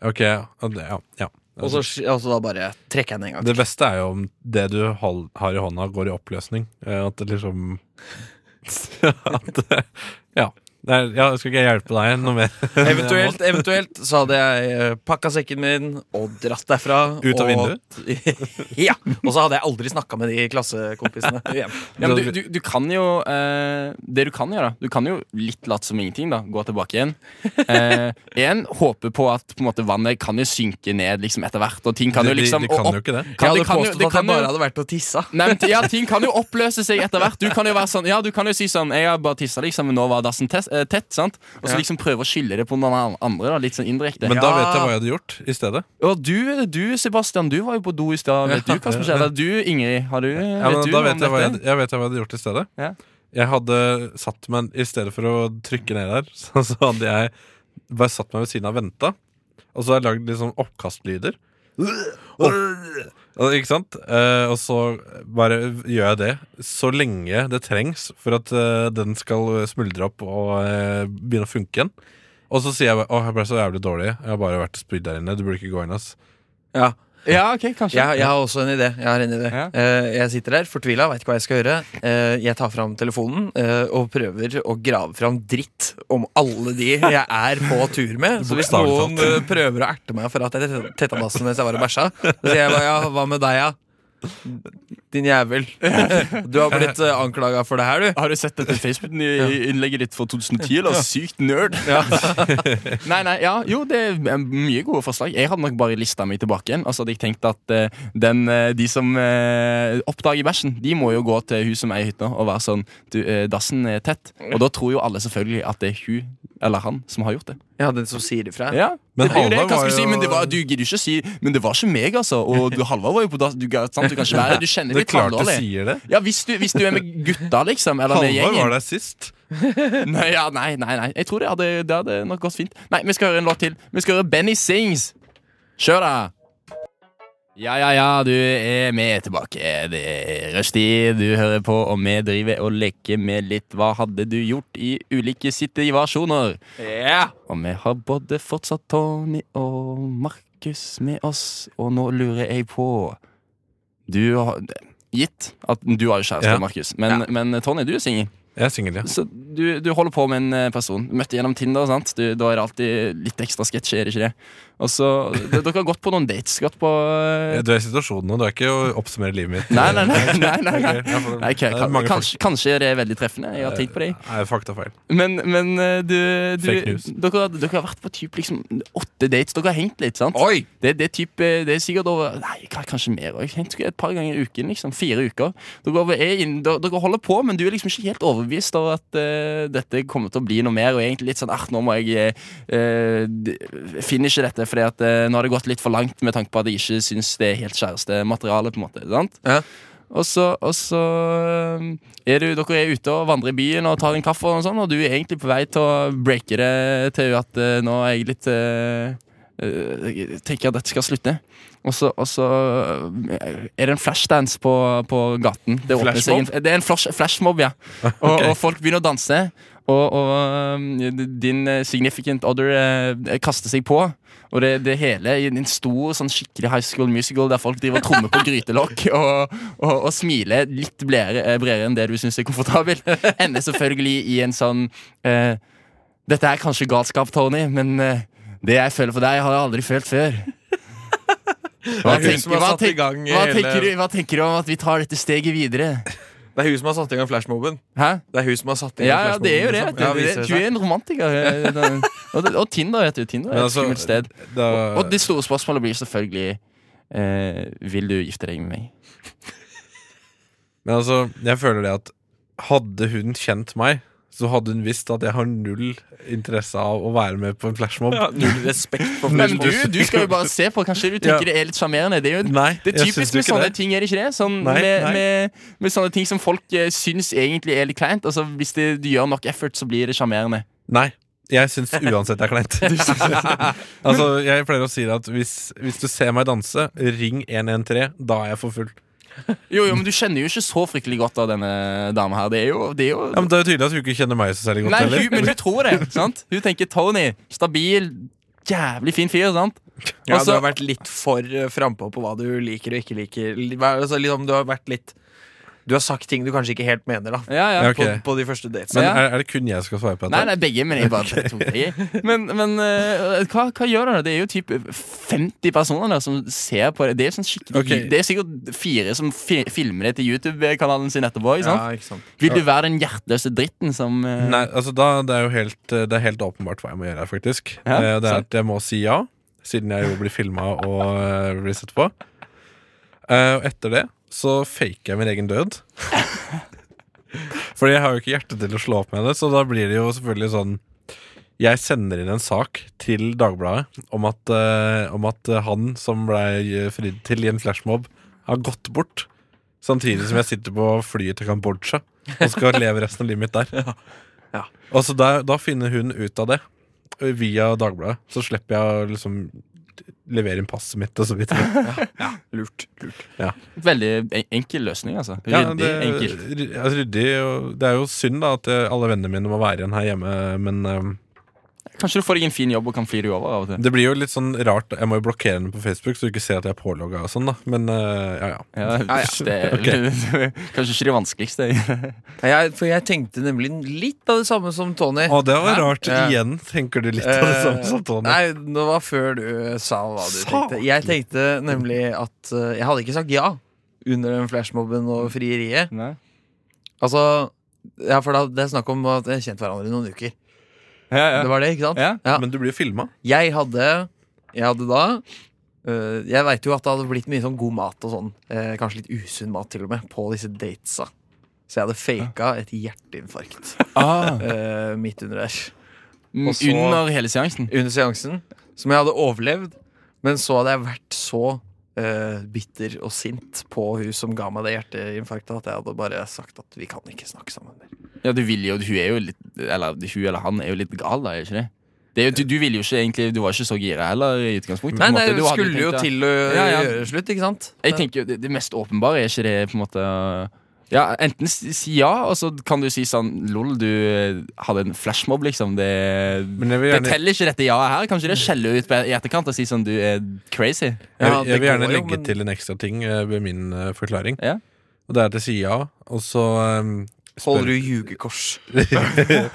Ok, ja, det- ja, ja.
Og så, og så da bare trekker jeg den en gang.
Det beste er jo om det du hold, har i hånda, går i oppløsning. Eh, At det liksom At det Ja. Det er, ja, skal ikke jeg hjelpe deg noe mer?
Eventuelt, eventuelt så hadde jeg eh, pakka sekken min og dratt derfra.
Ut av
og, ja. Og så hadde jeg aldri snakka med de klassekompisene igjen.
Ja, men du, du, du kan jo eh, Det du kan gjøre, du kan jo litt late som ingenting, da. Gå tilbake igjen. Eh, igjen håpe på at på en måte, vannet kan jo synke ned liksom, etter hvert, og ting kan jo
De- de-
liksom
De kan
og
jo
opp-
ikke det.
kan-
jeg
det
hadde
kan jo-
påstått
det
at
kan
jeg
jo-
bare hadde vært og tissa.
Nei, men, ja, ting kan jo oppløse seg etter hvert. Du kan jo være sånn, ja, du kan jo si sånn Jeg har bare tissa, liksom, men nå var dassen test, eh, tett, sant? og så
Ja.
liksom prøve å skylde det på noen an- andre. da, Litt sånn indirekte.
Men da vet jeg
Ja.
hva jeg hadde gjort i stedet.
Og du, du, Sebastian, du var jo på do i stad. Vet du hva som skjedde? Du, Ingrid, har du,
Ja, men
vet du
da
om
vet jeg, hva jeg,
dette?
jeg vet jeg hva jeg hadde gjort i stedet.
Ja.
Jeg hadde satt meg I stedet for å trykke ned der, så, så hadde jeg bare satt meg ved siden av og venta. Og så har jeg lagd liksom oppkastlyder. Og- Ikke sant? Eh, og så bare gjør jeg det så lenge det trengs for at eh, den skal smuldre opp og eh, begynne å funke igjen. Og så sier jeg bare, åh, jeg ble så jævlig dårlig. Jeg har bare vært og spydd der inne. Du burde ikke gå inn, ass.
Ja.
Ja, ok, kanskje.
Jeg, jeg har også en idé. Jeg, har en idé.
Ja.
Eh, jeg sitter der fortvila, veit ikke hva jeg skal gjøre. Eh, jeg tar fram telefonen eh, og prøver å grave fram dritt om alle de jeg er på tur med. Så hvis
Bokstavelig
noen
talt.
eh, prøver å erte meg for at jeg tett- tetta dassen mens jeg var og bæsja, så sier jeg bare ja, hva med deg, ja? Din jævel. Du har blitt uh, anklaga for det her, du.
Har du sett dette Facebook-innlegget ditt for 2010? Eller? Sykt nerd! nei, nei, ja, jo, det er mye gode forslag. Jeg hadde nok bare lista meg tilbake igjen. Altså, hadde jeg tenkt at eh, den, eh, De som eh, oppdager bæsjen, de må jo gå til hun som eier hytta, og være sånn du, eh, Dassen er tett. Og da tror jo alle selvfølgelig at det er hun eller han som har gjort det.
Ja, den som sier ifra.
Ja,
Men
det er jo det jeg
Halvard
kan
var
skulle si,
jo-
men det var, du gidder ikke å si Men det var ikke meg, altså. Og du, Halvard var jo på dass. Du, ga- sant, du kan ikke være Du kjenner
Det er
litt
klart du
halvdårlig.
sier det.
Ja, hvis du, hvis du er med gutta, liksom. Eller med
Halvor
gjengen.
var der sist.
Nei, ja, nei, nei, nei. Jeg tror det hadde, det hadde nok gått fint. Nei, vi skal høre en låt til. Vi skal høre Benny Sings. Kjør, da! Ja, ja, ja, du er med tilbake. Det er rushtid. Du hører på, og vi driver og leker med litt 'Hva hadde du gjort?' i ulike situasjoner.
Ja.
Og vi har både fortsatt Tony og Markus med oss, og nå lurer jeg på Du har Gitt at du har jo kjæreste,
Ja.
Markus, men, men Tony, du er singel.
Jeg er singel, ja.
Så du, du holder på med en eh, person. Møtte gjennom Tinder. sant? Du, da er det alltid litt ekstra sketsj, er det ikke det? Og så, d- Dere har gått på noen dates. Gått på eh,
Du er i situasjonen nå. Du er ikke å oppsummere livet mitt.
Nei, nei, nei. nei, nei, nei.
Ok, jeg får-
Nei, ok,
det er
kan,
mange
kanskje, kanskje det er veldig treffende. Jeg har tenkt på det.
folk- Nei, faktafeil.
Men, men eh, du, du
Fake news.
dere, har- dere har vært på typ liksom åtte dates. Dere har hengt litt, sant?
Oi!
Det, det, er typ, eh, det er sikkert over Nei, ka- kanskje mer. også. Jeg tenker Et par ganger i uken. liksom, Fire uker. Dere, over- er inn, dere, dere holder på, men du er liksom ikke helt overbevist over at eh, dette kommer til å bli noe mer. Og egentlig litt sånn ah, nå må jeg uh, finne ikke dette, fordi at eh, nå har det gått litt for langt med tanke på at jeg ikke syns det er helt kjærestemateriale. på en måte, sant?
Ja.
Og så, og så eh, er du, dere er ute og vandrer i byen og tar en kaffe, og sånn, og du er egentlig på vei til å breake det til at eh, nå er jeg litt eh, eh, jeg tenker at dette skal slutte. Og så, og så eh, er det en flashdance på, på gaten. Det, åpner seg en, det er en flash, flashmob, ja. Og,
Ok.
og folk begynner å danse. Og, og eh, din eh, significant other eh, kaster seg på. Og det, det hele i en stor, sånn skikkelig high school musical der folk driver og trommer på grytelokk og, og, og smiler litt bredere, eh, bredere enn det du syns er komfortabelt. Ender selvfølgelig i en sånn eh, Dette er kanskje galskap, Tony, men eh, det jeg føler for deg, har jeg aldri følt før. Hva
Det er hun som
tenker,
har
hva,
satt i
tenk,
gang
hva,
hele-
tenker du, hva tenker du om at vi tar dette steget videre?
Det er hun som har satt i gang flashmoben.
Hæ?
Det er hun som har satt i gang
Ja, ja, det er jo det.
flashmoben, liksom.
Du,
Ja, viser
det-
det
du
seg.
er en romantiker. eh, den- Og, det- og Tinder, vet du. Tinder er
Men
et
altså,
skummelt sted.
Da,
øh,
Og, og det store spørsmålet blir selvfølgelig eh, Vil du gifte deg med meg?
Men altså, jeg føler det at hadde hun kjent meg, så hadde hun visst at jeg har null interesse av å være med på en flashmob.
Ja, Null respekt for
Nei, men
flashmoben.
du, du skal jo bare se på. Kanskje du tenker
Ja.
det er litt sjarmerende. Det er jo
Nei,
Det er
jeg syns
typisk med
ikke
sånne
det.
ting, er det ikke det? Sånn,
Nei,
med,
nei.
Med, med sånne ting som folk eh, syns egentlig er litt kleint. Altså, hvis det, du gjør nok effort, så blir det sjarmerende.
Nei. Jeg syns uansett det er kleint. altså, jeg pleier å si det at hvis, hvis du ser meg danse, ring 113. Da er jeg for full.
Jo, jo, men du kjenner jo ikke så fryktelig godt av denne dama her. Det er jo, det er jo
Ja, men Det er jo tydelig at hun ikke kjenner meg så særlig godt
Nei, hun,
heller.
men hun tror det. sant? Hun tenker Tony, stabil, jævlig fin fyr. sant?
Ja,
Altså-
du har vært litt for eh, frampå på hva du liker og ikke liker. Li- hva- Altså, liksom, du har vært litt Du har sagt ting du kanskje ikke helt mener, da.
Ja, ja.
Ja, ok.
På, på de første datene.
Men
Ja.
er, er det kun jeg som skal svare på dette?
Nei, nei, begge, men jeg bare tok begge. Men, men eh, hva, hva gjør dere? Det er jo typ 50 personer der som ser på det. Det er, sånn skikkelig,
Ok.
det er sikkert fire som fi filmer det til YouTube-kanalen sin etterpå. ikke sant?
Ja, ikke sant?
Vil du være den hjerteløse dritten som eh,
Nei, altså da, Det er jo helt, eh, det er helt åpenbart hva jeg må gjøre her, faktisk.
Ja,
Eh, det er
sant.
at jeg må si ja, siden jeg jo blir filma og eh, blir sett på. Eh, Og etter det så faker jeg min egen død. Fordi jeg har jo ikke hjerte til å slå opp med det, så da blir det jo selvfølgelig sånn Jeg sender inn en sak til Dagbladet om at, eh, om at eh, han som ble eh, fridd til i en flashmob, har gått bort. Samtidig som jeg sitter på flyet til Kambodsja og skal leve resten av livet mitt der.
Ja.
Og så da- da finner hun ut av det via Dagbladet. Så slipper jeg å liksom levere inn passet mitt og så videre.
Lurt. lurt.
Veldig en- enkel løsning, altså. Ryddig,
Ja, det,
enkelt.
ry- ja, ryddig, og det er jo synd da at eh, alle vennene mine må være igjen her hjemme, men eh,
Kanskje du får deg en fin jobb og kan fly deg over av og til.
det blir jo litt sånn rart. Jeg må jo blokkere henne på Facebook, så du ikke ser at jeg er pålogga og sånn, da. Men eh, ja, ja.
Ja,
ja.
Det er kanskje ikke det vanskeligste.
Jeg, for jeg tenkte nemlig litt av det samme som Tony.
Å, det var
Hæ?
rart.
Ja.
Igjen tenker du litt av det samme
Eh,
som Tony.
Nei, det var før du eh, sa hva du
Sa.
tenkte. Jeg tenkte nemlig at eh, jeg hadde ikke sagt ja under den flashmobben og frieriet.
Nei.
Altså, ja, for da, det er snakk om at jeg kjente hverandre i noen uker.
Ja, ja.
Det var det, ikke sant?
ja.
Ja.
Men du blir jo filma.
Jeg hadde, jeg hadde da eh, Jeg veit jo at det hadde blitt mye sånn god mat og sånn. eh, kanskje litt usunn mat til og med, på disse datesa. Så jeg hadde faka et hjerteinfarkt eh, midt under der.
Mm,
Og så-
Ah, Under hele seansen.
Under seansen. Som jeg hadde overlevd. Men så hadde jeg vært så eh, bitter og sint på hun som ga meg det hjerteinfarktet, at jeg hadde bare sagt at vi kan ikke snakke sammen mer.
Ja, du vil jo, hun er jo litt Eller hun eller han er jo litt gal, da, er ikke det? det er jo, du, du ville jo ikke egentlig Du var ikke så gira heller i utgangspunktet. på
Nei,
en
nei,
måte.
det
Du hadde
skulle jo
tenkt, ja.
til å eh,
Ja, ja.
gjøre det slutt, ikke sant?
Jeg tenker jo, det, det mest åpenbare er ikke det på en måte ja, Enten si si ja, og så kan du si sånn Lol, du eh, hadde en flashmob, liksom. Det,
Men jeg vil
det
gjerne,
teller ikke dette ja-et her. Kanskje det skjeller ut på- i etterkant og si sånn Du er crazy.
jeg,
Ja, det
jeg vil gjerne
går jo,
legge
men-
til en ekstra ting eh, ved min eh, forklaring.
Ja.
Og det er at jeg sier ja, og så eh, spør-
Holder du ljugekors?
det,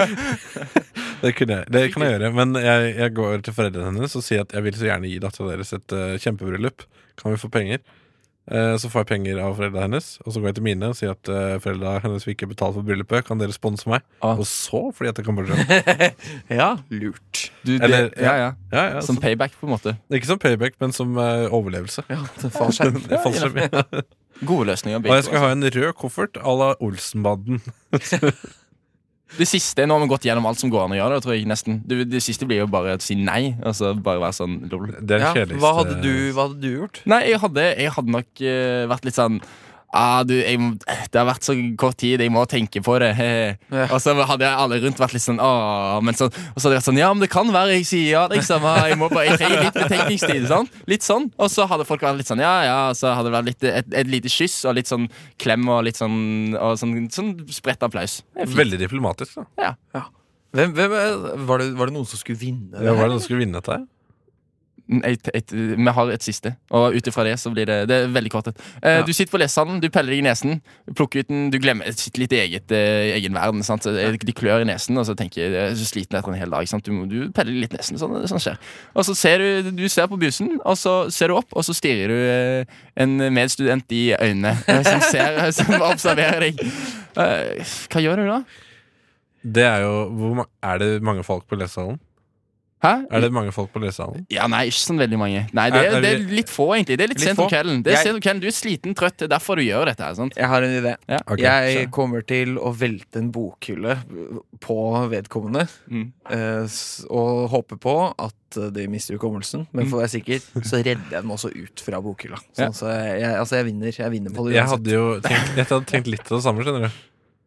kunne jeg, det kan jeg gjøre, men jeg, jeg går til foreldrene hennes og sier at jeg vil så gjerne gi dattera deres et eh, kjempebryllup. Kan vi få penger? Eh, så får jeg penger av foreldra hennes, og så går jeg til mine og sier at uh, foreldra hennes vil ikke betale for bryllupet. Kan dere sponse meg?
Ah.
Og så flyr jeg til Kambodsja.
Ja, lurt.
Du, det,
Eller-
ja, ja.
Ja, altså. ja,
Som
så,
payback, på en måte.
ikke som payback, men som eh, overlevelse.
Ja, det faller seg.
Fallskjerm, ja.
Gode løsninger.
Og
begge
jeg
to, altså.
skal ha en rød koffert à la Olsenbanden.
Det siste Nå har vi gått gjennom alt som går an å gjøre. Det, tror jeg, nesten. Det, det siste blir jo bare å si nei. Altså Bare være sånn lol.
Det er
Ja,
den kjedeligste
hva, hadde du, hva hadde du gjort?
Nei, jeg hadde, jeg hadde nok eh, vært litt sånn Ah, du, jeg, må- det har vært så kort tid, jeg må tenke på det.
Ja.
Og så hadde jeg alle rundt vært litt sånn ah, men så, Og så hadde jeg vært sånn Ja, men det kan være jeg sier ja. Liksom, ah, jeg, må bare, jeg trenger litt betenkningstid. Sånn. Litt sånn. Og så hadde folk vært litt sånn Ja, ja. og Så hadde det vært litt, et, et lite kyss og litt sånn klem og litt sånn, og sånn, sånn spredt applaus. Det er fint.
Veldig diplomatisk, da.
Hvem, hvem, er- var, det, var det noen som skulle vinne?
Ja, Hva er det du skulle vinne dette her?
Mm, Et, et, vi har et siste, og ut ifra det så blir det Det er veldig kort. Eh,
Ja.
Du sitter på lesehandelen, du peller deg i nesen, plukker ut den, du glemmer du sitter litt i eget, eh, egen verden. Sant? Så, eh, De klør i nesen, og så tenker jeg, jeg er så sliten etter en hel dag. Sant? Du, må- du peller litt i nesen. Sånn, sånn skjer. Og så ser du, du ser på bussen, og så ser du opp, og så stirrer du eh, en medstudent i øynene eh, som, ser, som observerer deg. Eh, hva gjør du da?
Det er jo hvor, ma- Er det mange folk på lesesalen?
Hæ?
Er det mange folk på lesesalen?
Ja, nei, ikke sånn veldig mange. Nei, det
Er-
er,
er
det
vi-
er litt få, egentlig. Det er litt,
Litt
sent om
få?
kvelden. Det er
Jeg-
sent om kvelden. Du er sliten, trøtt. Det er derfor du gjør dette. her, sant?
Jeg har en idé.
Ja.
Ok,
jeg
kjør.
kommer til å velte en bokhylle på vedkommende
Mm.
eh, s- og håpe på at eh, de mister hukommelsen. Men for å være sikker, så redder jeg den også ut fra bokhylla.
Ja.
Sånn, Så jeg, jeg, altså, jeg vinner. Jeg vinner på det.
Jeg
uansett.
hadde jo tenkt, jeg hadde tenkt litt av det samme, skjønner du.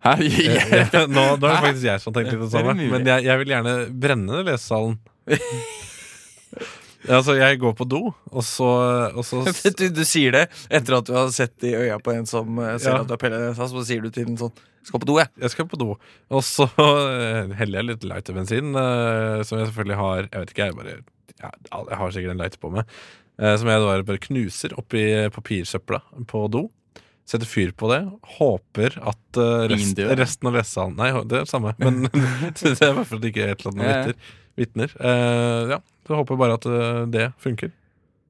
Hæ? Ja.
Nå, nå er det faktisk jeg som har tenkt litt av
Er
det
det
samme.
mulig?
Men jeg, jeg vil gjerne brenne lesesalen. Altså, jeg går på do, og så, og så
du, du sier det etter at du har sett i øya på en som eh, ser
Ja.
at du har pelle i nesa, så sier du til en sånn Skal på do, jeg.
Jeg skal på do. Og så eh, heller jeg litt lighterbensin, eh, som jeg selvfølgelig har Jeg vet ikke, jeg bare ja, Jeg har sikkert en lighter på meg. eh, Som jeg da bare knuser oppi papirsøpla på do. Setter fyr på det. Håper at eh,
Ingen
rest,
dør.
resten av lesesalen Nei, det er det samme, men det er i hvert fall ikke et eller annet
Ja, ja.
vitner. vitner. Eh, ja, så håper jeg bare at eh, det funker.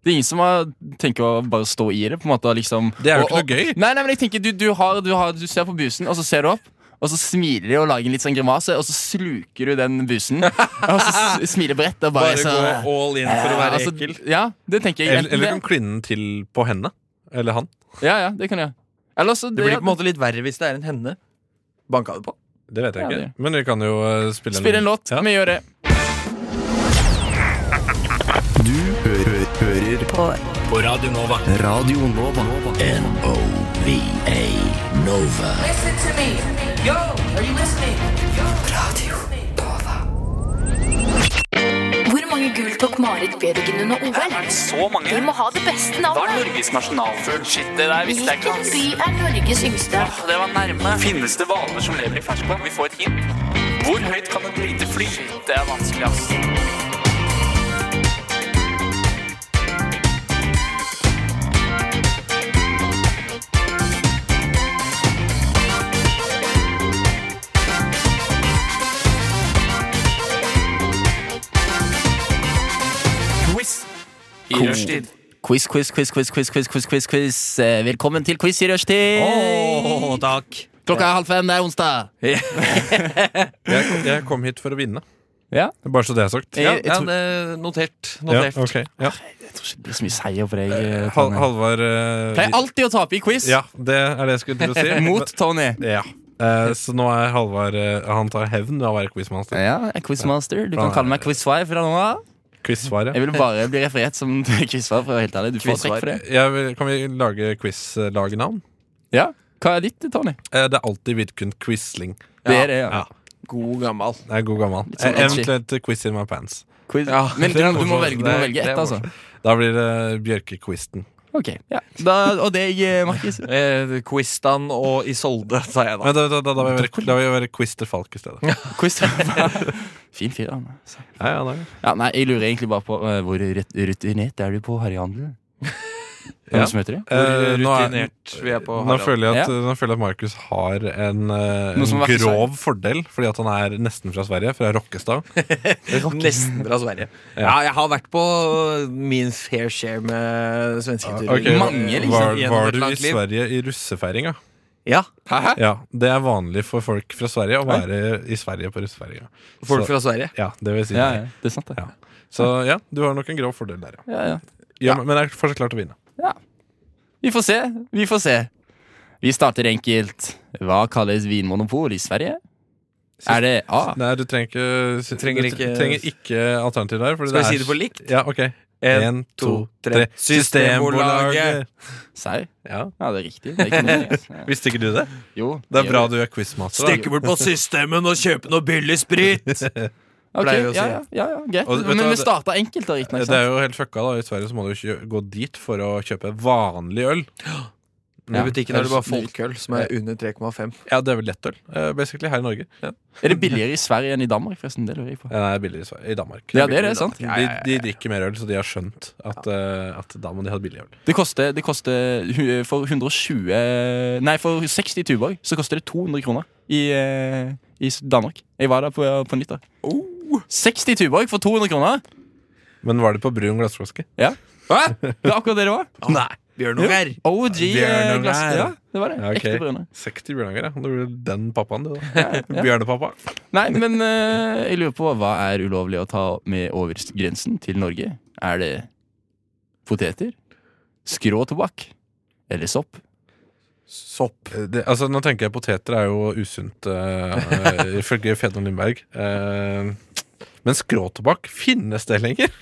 Det er ingen som har, tenker å bare stå i det, på en måte. og Liksom,
Det er jo
og-
ikke noe gøy.
og- Nei, nei, men jeg tenker, du, du, har, du, har, du ser på busen, og så ser du opp. Og så smiler de og lager en litt sånn grimase, og så sluker du den busen. Og så s- smiler bredt og bare, så,
all in for
Ja, altså, Ja, det tenker jeg.
Eller,
Enten
eller du
det,
kan kline den til på henne. Eller han.
ja, ja, det kan jeg. Eller så
Det blir på en måte litt verre hvis det er en henne. Banka du på?
Det vet jeg
Ja,
ikke. Men vi kan jo eh, spille,
Spill en låt.
Ja.
Vi gjør det.
Du hø- hø- hører på Radio Nova. N-O-V-A Nova.
Listen to me. Yo, are you listening? Yo. Radio Nova.
Hvor mange gull tok Marit Bjørgen under OL?
Så mange.
Vi må ha det beste
Hva er
navnet.
Norges nasjonalfugl? Shit, det der
Hvilken by er Norges yngste?
Det var nærme. Finnes det hvaler som lever i ferskvann? Vi får et hint. Hvor høyt kan et lite fly? Det er vanskelig, ass. Quiz i rushtid.
Quiz, quiz, quiz, quiz, quiz, quiz, quiz, quiz, quiz. Eh, Velkommen til quiz i rushtid!
takk.
Klokka er halv fem, det er onsdag.
Jeg, kom- jeg kom hit for å vinne.
Ja.
Bare så det er sagt.
Jeg, jeg,
Ja,
tror, Ah,
det, notert.
Ja,
notert.
ok. ja.
jeg tror ikke det blir så mye seier for deg. eh,
Hal
Tony.
Halvard eh,
Pleier alltid å tape i quiz
Ja, det er det jeg skulle til å si.
mot Tony.
Ja. Eh, så nå er Halvard eh, Han tar hevn ved å være quizmaster.
Ja, jeg er quizmaster. Du kan kalle meg quizsvar fra nå av.
Quiz-svar, ja.
Jeg vil bare bli referert som quizsvar. for å være helt ærlig Du får trekk for det.
Jeg vil, kan vi lage quiz-lagnavn?
Ja, Hva er ditt, Tony?
Eh, det er alltid Vidkun Quisling.
Det er det, ja.
Ja.
God gammel.
Det er god gammel.
sånn
Eh,
edgy.
eventuelt Quiz in my pants.
Quiz.
Ja,
Men du,
det er
du, må
morsomt.
velge, du må
Det-
velge
det er
ett, altså.
Da blir det Bjørkequisten.
Ok, ja da, Og deg, eh, Markus?
Eh, Quistan og Isolde, sa jeg da.
Men da, da, da, da, vil jeg være, da vil jeg være Quiz til Falk i stedet. Ja,
Quiz. Fin fyr, han. altså.
ja, det er det.
Ja, nei, jeg lurer egentlig bare på eh, hvor rut- rutinert er du på harryhandel? Hvem
Ja.
som heter det?
Eh, nå er-
Rutinert vi er på
Nå
Harald.
føler jeg at, nå føler jeg at Markus har en, eh,
Noe som
en
er verdt å
grov fordel, fordi at han er nesten fra Sverige, fra Rokkestad.
Nesten fra Sverige. Ja, jeg har vært på min fair share med svensketurer.
Ah, Ok,
Mange, liksom,
var,
gjennom
var
et
du i
langt liv.
Sverige i russefeiringa?
Ja,
Hæ?
Ja, det er vanlig for folk fra Sverige å være i Sverige på russefeiringa.
folk
Så-
fra Sverige.
Ja, det vil si
Ja,
det.
ja, det er sant, det.
Ja. Så ja, du har nok en grov fordel der, ja.
Ja, ja.
ja men- Men jeg er fortsatt klar til å vinne.
Vi får se. Vi får se. Vi starter enkelt. Hva kalles vinmonopol i Sverige? Er det A?
Nei, du trenger ikke,
Ah. Trenger
du
ikke-
trenger ikke alternativ der. fordi
Skal vi
er-
si det på likt?
Ja, ok.
En,
En,
to, tre. Systembolaget.
Sau?
Ja.
Ja, det er riktig. Det er ikke noe altså.
Visste ikke du det?
Jo.
Det er bra du er quizmaster. da.
Stikke bort på systemen og kjøpe noe billig sprit!
Ok,
pleier vi å si.
ja, ja, ja, ja, greit.
Og vet du
Men
hva,
vi
det-
starta enkelt, da, riktignok.
Det er jo helt fucka, da. I Sverige så må du ikke gå dit for å kjøpe vanlig øl.
I butikken er det bare folkeøl som er under 3,5.
Ja, det er vel lettøl, eh, basically, her i Norge. Ja.
Er det billigere i Sverige enn i Danmark, forresten? Det lurer jeg på.
Nei, det er billigere i Sverige. I Danmark.
Ja, det er det, sant?
De, de drikker mer øl, så de har skjønt at, eh, at da må de ha billig øl.
Det koster, det koster hu- for 120 Nei, for 60 tuborg så koster det 200 kroner i, eh, i s- Danmark. Jeg var der på, på nytt. da 60 tuborg for 200 kroner!
Men var det på brun glassflaske?
Ja. Hæ? Det er akkurat det det var.
Ah, Nei, Bjørnunger!
OG
Bjørnunger.
eh, glass. Ja, det var det.
Ja, ok.
Ekte brune.
60 bjørnanger, ja. Da blir du den pappaen, du, da. Bjørnepappa.
Nei, men eh, jeg lurer på hva er ulovlig å ta med over s- grensen til Norge? Er det poteter? Skråtobakk? Eller sopp?
Sopp. Det, altså, nå tenker jeg poteter er jo usunt, eh, ifølge Fedon Lindberg. Eh, men skråtobakk, finnes det lenger?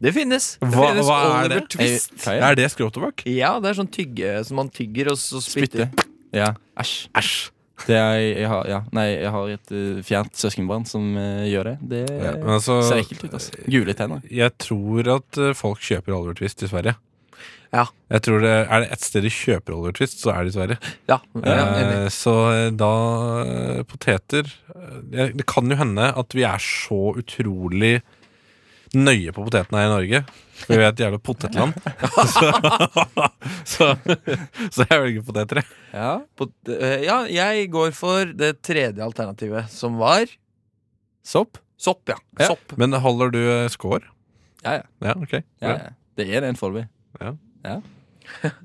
Det finnes. Det
Hva-
finnes
hva er
Oliver
det?
Twist.
Jeg-
Er det skråtobakk?
Ja, det er sånn tygge som man tygger, og så spytter.
Spytte. Ja. Æsj. Det er, jeg har, ja. Nei, jeg har et eh, fjernt søskenbarn som eh, gjør det. Det
Ja, men altså-
ser ekkelt ut. Altså. Gule tenner.
Jeg tror at eh, folk kjøper Oliver Twist i Sverige.
Ja.
Jeg tror det, Er det ett sted de kjøper Oliver Twist, så er det i Sverige.
Ja, ja, enig.
Eh, så eh, da eh, Poteter eh, jeg- Det kan jo hende at vi er så utrolig nøye på potetene her i Norge. For vi er et jævla potetland. så, så, så jeg velger poteter, jeg.
Ja.
Pot- eh, ja, jeg går for det tredje alternativet, som var
Sopp.
sopp, ja.
Ja.
Sopp.
Men holder du eh, score?
Ja, ja.
Ja, ok.
ja,
Bra.
ja. Det er det en foreløpig.
Ja.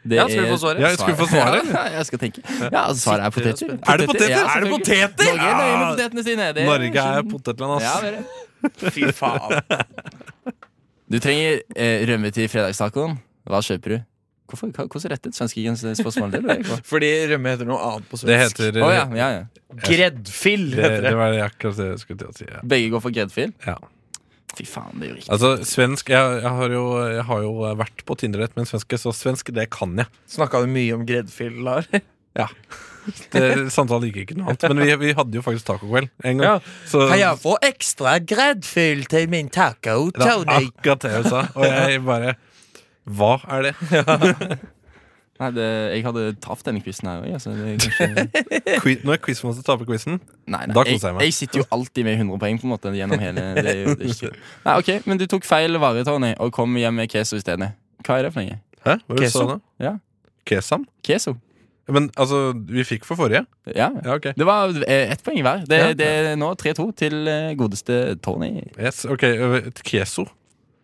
Det
Ja, skal vi få
er-
svaret?
Ja, jeg skulle få svaret.
Ja, jeg skal tenke. Ja, altså, svaret er poteter.
Er det poteter?
Ja,
Er det
selvfølgelig.
poteter?
Norge er nøye med
Ja.
potetene sine. Det
Norge er potetland, ass.
Ja, det er det.
Fy faen.
Du trenger eh, rømme til fredagstacoen. Hva kjøper du? Hvorfor, hva- hvordan rettet svenskens spørsmål det? lurer jeg på?
Fordi rømme heter noe annet på svensk.
Det heter-
eh,
Å ja, ja, ja.
Gredfill heter det.
var akkurat det jeg skulle til å si. Ja.
Begge går for gredfil?
Ja.
Fy faen, det er jo riktig.
Altså, svensk jeg, jeg, har jo, jeg har jo vært på Tinder-rett med en svenske, så svensk, det kan jeg.
Snakka du mye om gredfill, Lars?
Ja. Det, samtalen gikk ikke noe annet. Men vi, vi hadde jo faktisk tacokveld en gang.
Ja.
Så-
Kan jeg få ekstra gredfill til min taco,
Det var
Tony?
akkurat det hun sa. Og jeg bare Hva er det?
Nei, det, jeg hadde tapt denne quizen her òg. Altså, det er kanskje...
Qui- Når quizmaster taper quizen,
Nei, nei,
da koser jeg meg.
Jeg sitter jo alltid med 100 poeng på en måte gjennom hele det er jo, det er ikke... Nei, ok, Men du tok feil vare, Tony, og kom hjem med queso isteden. Hva er det for noe?
Hæ? Hva var det du
Queso?
sa da?
Ja.
Kesam?
Queso.
Men altså, vi fikk for forrige.
Ja,
ok.
Det var eh, ett poeng hver. Det,
Ja.
det er nå 3-2 til eh, godeste Tony.
Yes, ok, Øh, ø, Queso.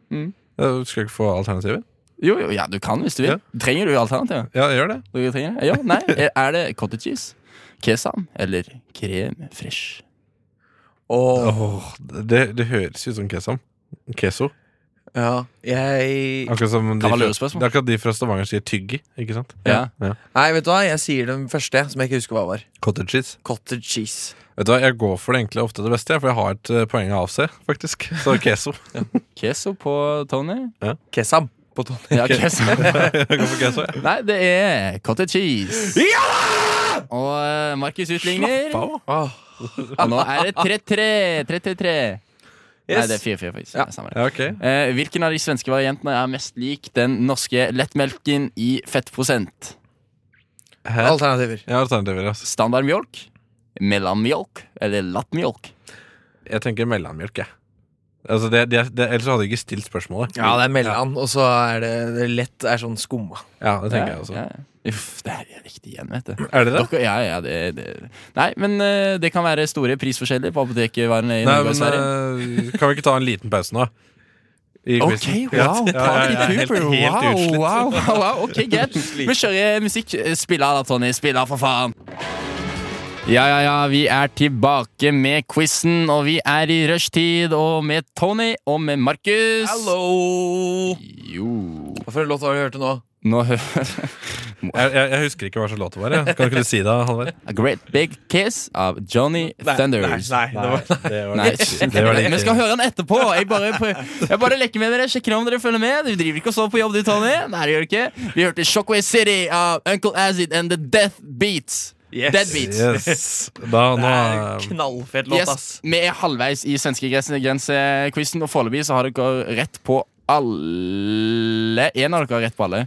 Mm.
Eh, Skal jeg ikke få alternativer?
Jo, jo, ja, du kan hvis du vil. Trenger du alternativer?
Ja, gjør det.
Du trenger det? Ja, nei, er- er det cottage cheese, kesam eller krem fresh?
Åh, det, det høres jo ut som kesam. Keso.
Ja, jeg
Akkurat som de fra,
Kavalørspørsmål.
det er akkurat de fra Stavanger sier tyggi, ikke sant?
Ja.
Ja.
Nei, vet du hva? Jeg sier den første, som jeg ikke husker hva var.
Cottage cheese.
Cottage cheese.
Vet du hva, Jeg går for det enkle ofte det beste, jeg, for jeg har et eh, poeng å avse, faktisk. Så keso.
Queso på Tony.
Ja.
Kesam på Tony.
Ja, queso.
jeg går for queso, jeg.
Nei, det er cottage cheese.
Ja!
Og eh, Markus utligner.
Slapp
av.
Og nå er det 3-3. 3-3-3. Nei,
Yes.
det er 4-4, faktisk.
Ja.
Det er samme det.
Ja, ok.
Eh, hvilken av de svenske variantene er mest lik den norske lettmelken i fettprosent?
Alternativer.
Ja, alternativer, altså.
Standardmjølk, mellommjølk eller lattmjølk?
Jeg tenker mellommjølk, jeg. Altså, det, det, det, ellers hadde jeg ikke stilt spørsmålet.
Ja, det er mellom, og så er det, det lett er sånn skumma.
Ja, det tenker jeg også.
Uff, det her er riktig igjen, vet du.
Er det det?
Dere, ja, ja, det, det. Nei, men eh, det kan være store prisforskjeller på apotekvarene i
Nei,
Norge og
men
Sverige.
eh, Kan vi ikke ta en liten pause nå? I
Ok,
quizen?
wow, Party
jeg er
Cooper,
helt, helt
wow,
utslitt.
wow, wow, wow, ok, greit Vi kjører musikk, spiller da, Tony, spiller for faen Ja, ja, ja, vi er tilbake med quizzen Og vi er i rushtid, og med Tony og med Markus
Hallo!
Jo
Hva for en låt har du hørt nå?
Nå hører
Jeg, jeg, jeg husker ikke hva slags låt det var. jeg. Kan ikke du si det, Halvard?
A Great Big Kiss av Johnny Thunders
nei, nei, det var-
det
Nei, Vi skal høre den etterpå. Jeg bare, prø- jeg bare leker med dere, sjekker om dere følger med. Du driver ikke og sover på jobb, du, Tony. Nei, det gjør du ikke. Vi hørte Shockwave City av Uncle Acid and The Death Beats. Dead Beats.
Yes. Da, nå, eh,
Knallfet låt, ass.
Yes, vi er halvveis i svenskegrensequizen, og foreløpig så har dere rett på alle. En av dere har rett på alle.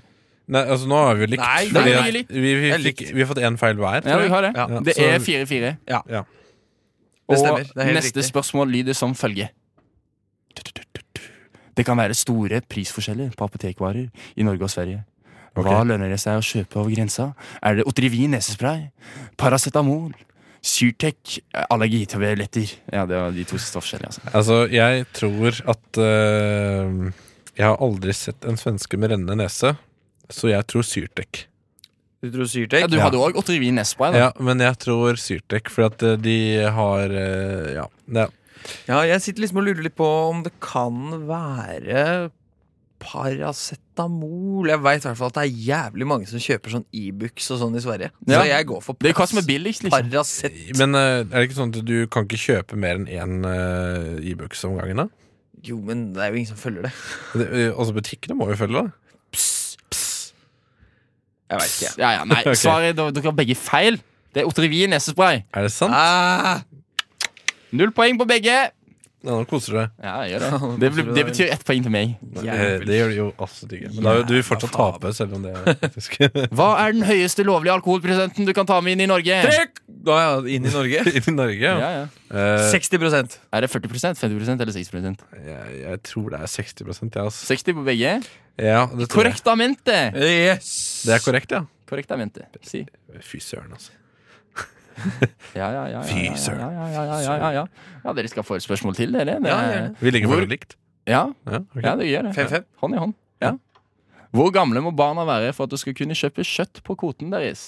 nei, altså, nå har vi jo likt.
Nei,
fordi
nei,
at
vi er likt.
Vi, vi,
Det er
fikk, vi har fått én feil hver.
Ja,
tror
vi
jeg.
har det.
Ja,
Det
så-
er 4-4.
Ja.
Ja.
Det stemmer. Det er
Og
helt
neste
riktig.
spørsmål lyder som følger. Det kan være store prisforskjeller på apotekvarer i Norge og Sverige. Hva lønner det seg å kjøpe over grensa? Er det Otrivin nesespray? Paracetamol? Syrtec? Allergitabletter? Ja, det var de to siste forskjellige, altså.
Altså, jeg tror at eh, Jeg har aldri sett en svenske med rennende nese, så jeg tror Syrtek.
Du tror Syrtek?
Ja, du hadde òg Otrivin nesespray, da.
Ja, men jeg tror Syrtek, for at eh, de har eh, Ja. ja.
Ja, jeg sitter liksom og lurer litt på om det kan være paracetamol. Jeg veit i hvert fall at det er jævlig mange som kjøper sånn Ibux og sånn i Sverige.
Ja.
Så jeg går for
Det er hva som er billigst, liksom.
Paracet.
Men eh, er det ikke sånn at du kan ikke kjøpe mer enn én uh, Ibux om gangen, da?
Jo, men det er jo ingen som følger det.
Det, eh, altså, butikkene må jo følge, da.
Jeg vet ikke.
Ja, ja, nei,
Ok.
Svaret dere dere har begge feil. Det er Otrivin nesespray.
Er det sant?
Ah,
Null poeng på begge.
Ja, nå koser du deg.
Ja, jeg gjør det. Det, blir- det betyr ett poeng til meg.
Ah,
Eh, Det gjør du jo absolutt ikke. Men da vil du vil fortsatt tape, selv om det er faktisk
Hva er den høyeste lovlige alkoholprosenten du kan ta med inn i Norge?
Trekk! Da er jeg inn i Norge.
I Norge, ja.
Ja, ja.
Eh,
60
Er det 40 50 eller 60
jeg, jeg tror det er 60 jeg, altså.
60 på begge.
Ja, det tror jeg.
Korrektamente!
Yes!
Det er korrekt, ja.
Korrektamente. Si.
Fy søren, altså.
Ja, ja, ja. ja,
Fy
ja,
søren.
Ja, ja, ja, ja, ja, ja. ja, dere skal få et spørsmål til, dere. Det
Ja,
er-
gjør det.
Vi ligger
Hvor-
veldig likt.
Ja,
Ja, ok.
ja, det gjør det.
5-5.
Hånd i hånd. Ja. Hvor gamle må barna være for at du skal kunne kjøpe kjøtt på kvoten deres?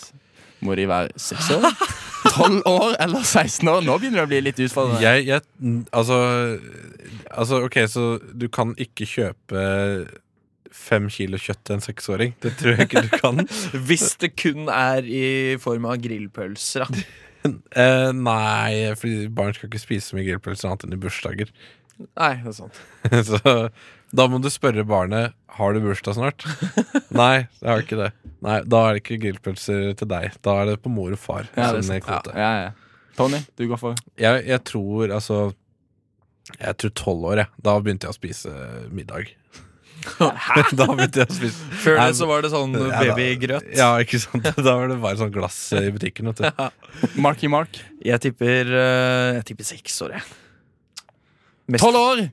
Må de være 6 år, 12 år eller 16 år? Nå begynner det å bli litt utfordrende.
Jeg, jeg n- altså, altså, ok, så du kan ikke kjøpe fem kilo kjøtt til en seksåring. Det tror jeg ikke du kan.
Hvis det kun er i form av grillpølser, da.
Eh, nei, fordi barn skal ikke spise så mye grillpølser annet enn i bursdager.
Nei, det er sant.
Så da må du spørre barnet Har du bursdag snart. nei, jeg har ikke det. Nei, Da er det ikke grillpølser til deg. Da er det på mor og far.
Ja, det Sånn er
sin
sant.
kvote.
Ja, ja, ja. Tony, du går for
Jeg, jeg tror altså Jeg tror tolv år, jeg. Da begynte jeg å spise middag. da begynte jeg å spise
Før det
Nei,
så var det sånn
ja, da-
babygrøt.
Ja, ikke sant. Da var det bare sånn glass i butikken. Vet du.
Marky Mark.
Jeg tipper eh, Jeg tipper seks år, jeg. Mest-
Tolv år!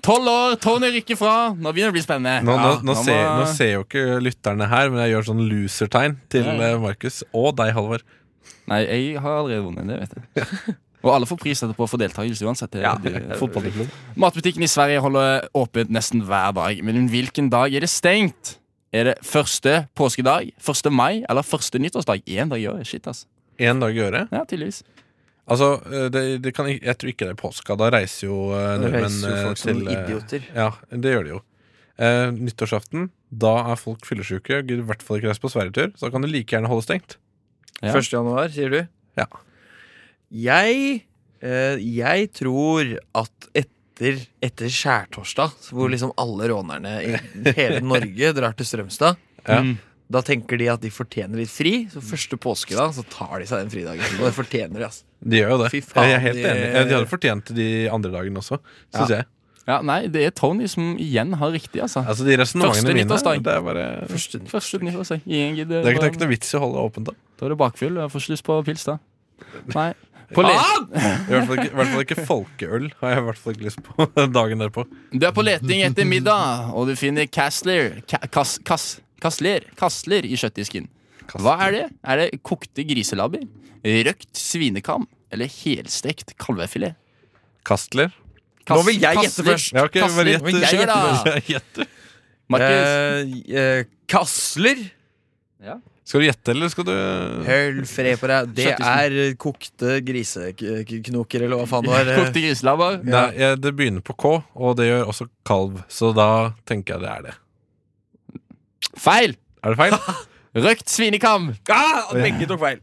Tolv år, Tony rykker fra. Nå begynner det å bli spennende.
Nå, nå,
Ja,
nå,
må-
ser, nå ser jo ikke lytterne her, men jeg gjør sånn loser-tegn til
Ja, ja.
eh, Markus og deg, Halvor.
Nei, jeg har allerede vunnet. Det vet jeg. Og alle får pris etterpå for deltakelse uansett. Det, det,
Fotballklubb.
Matbutikken i Sverige holder åpent nesten hver dag, men hvilken dag er det stengt? Er det første påskedag, første mai eller første nyttårsdag? Én dag i året. Shit, ass.
Én dag i året.
Ja, tydeligvis.
Altså, eh, det, det kan, ik- jeg tror ikke det er påska. Da reiser jo eh,
Da
nordmenn
reiser jo
eh,
folk som
til eh,
idioter.
Ja, det gjør de jo. Eh, nyttårsaften, da er folk fyllesyke. og gidder I hvert fall ikke reise på sverigetur. Så da kan du like gjerne holde stengt.
Ja.
1. januar, sier du?
Ja.
Jeg eh, Jeg tror at etter, etter skjærtorsdag, hvor liksom alle rånerne i hele Norge drar til Strømstad
Ja.
Da tenker de at de fortjener litt fri, så første påske da, så tar de seg den fridagen. Og det fortjener de, altså.
De gjør jo det.
Fy faen,
jeg er helt
de-
enig. Eh, De hadde fortjent det de andre dagene også, syns jeg.
Ja, Nei, det er Tony som igjen har riktig, altså.
Altså, de
Første
resonnementene mine
nyttårsdag.
Det er bare Det
Første nytt.
Første nyttårsdag. Ingen gidder.
er ikke, det er ikke noe vits i å holde det åpent, da.
Da er det bakfyll. og Jeg får ikke lyst på pils, da. Nei. På le
I hvert fall ikke, i hvert fall ikke folkeøl har jeg i hvert fall ikke lyst på dagen derpå.
du er på leting etter middag, og du finner Castler Ka kas kas Kassler Kassler i kjøttdisken. Hva er det? Er det kokte griselabber? Røkt svinekam? Eller helstekt kalvefilet?
Kastler?
Nå vil jeg gjette
Kassler.
først.
Ja, ok,
Kassler.
bare gjett.
Men jeg gjør da.
Gjett.
Markus.
Eh, eh, Kassler,
Skal du gjette, eller skal du
høll fred på deg. Det er eh, kokte griseknoker, eller hva faen det var. eh.
Kokte griselabber.
Nei, eh, Det begynner på K, og det gjør også kalv, så da tenker jeg det er det.
Feil!
Er det feil?
Røkt svinekam.
Ah, begge tok feil.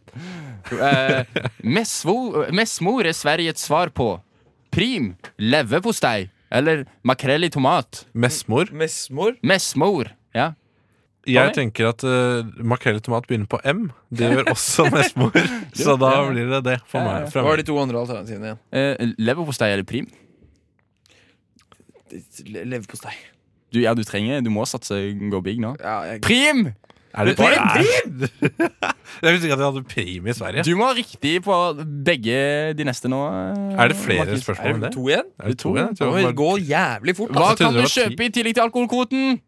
Eh, messvo- Messmor er Sveriges svar på prim, leverpostei eller makrell i tomat.
Messmor.
Messmor.
Messmor. Ja.
Jeg
Tommy?
tenker at uh, makrell i tomat begynner på M. Det gjør også messmor, så da
ja.
blir det det for
Ja, ja.
meg.
Hva
Fra
var
meg.
de to andre alternativene igjen?
Eh, leverpostei eller prim?
Le- Leverpostei.
Du, ja, du trenger Du må satse gå big nå.
Ja, jeg-
Prim!
Er det
Hva er
prim? Jeg visste ikke at de hadde prim i Sverige.
Du må ha riktig på begge de neste nå. eh,
Er det flere
Markus.
spørsmål om det?
To igjen?
Er det to?
to?
igjen? Jeg
Det
tror det
må
var-
gå jævlig fort.
Hva
Jeg trodde
kan du
det var ti.
kjøpe i tillegg til alkoholkvoten?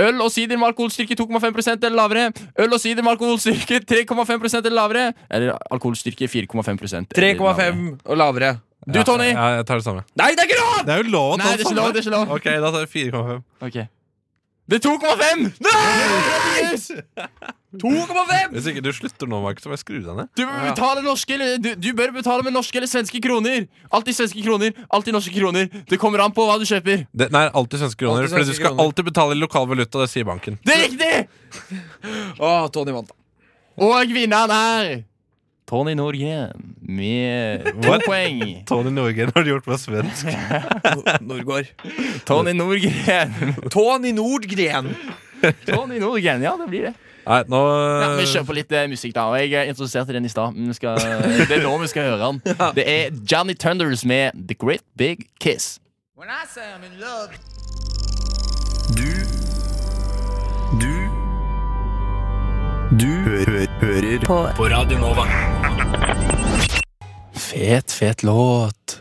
Øl og sider med alkoholstyrke 2,5 eller lavere. Øl og sider med alkoholstyrke 3,5 eller lavere. Eller alkoholstyrke 4,5 eller lavere.
3,5 og lavere.
Du, Tony!
Ja, jeg tar det samme.
Nei, det er ikke lov!
Det er jo lov å
Nei,
ta
det er ikke lov. Det er ikke lov.
Ok, da tar jeg 4,5.
Ok. Det er 2,5! Yes!
2,5!
Hvis ikke du slutter nå, Markus, så må jeg skru deg ned.
Du, bør betale norske, eller, du, du bør betale med norske eller svenske kroner. Alltid svenske kroner, alltid norske kroner. Det kommer an på hva du kjøper.
Det, nei, alltid svenske kroner.
Alltid
Fordi du
svenske
skal
kroner.
alltid betale i lokal valuta, det sier banken.
Det er riktig!
Å, Tony vant.
Og vinneren er Tony Norgren med to
What?
poeng.
Tony Norgren har gjort meg svensk.
Norgård.
Tony Norgren.
Tony Nordgren.
Tony Norgren, Ja, det blir det.
Nei, nå
Ja, vi kjører på litt eh, musikk, da. Og jeg eh, introduserte den i stad. men vi skal- Det er nå vi skal høre den. Det er Johnny Thunders med The Great Big Kiss.
When I say I'm in love,
eh,
Du Du Du hø hø hører på. på Radio Nova.
Fet, fet låt.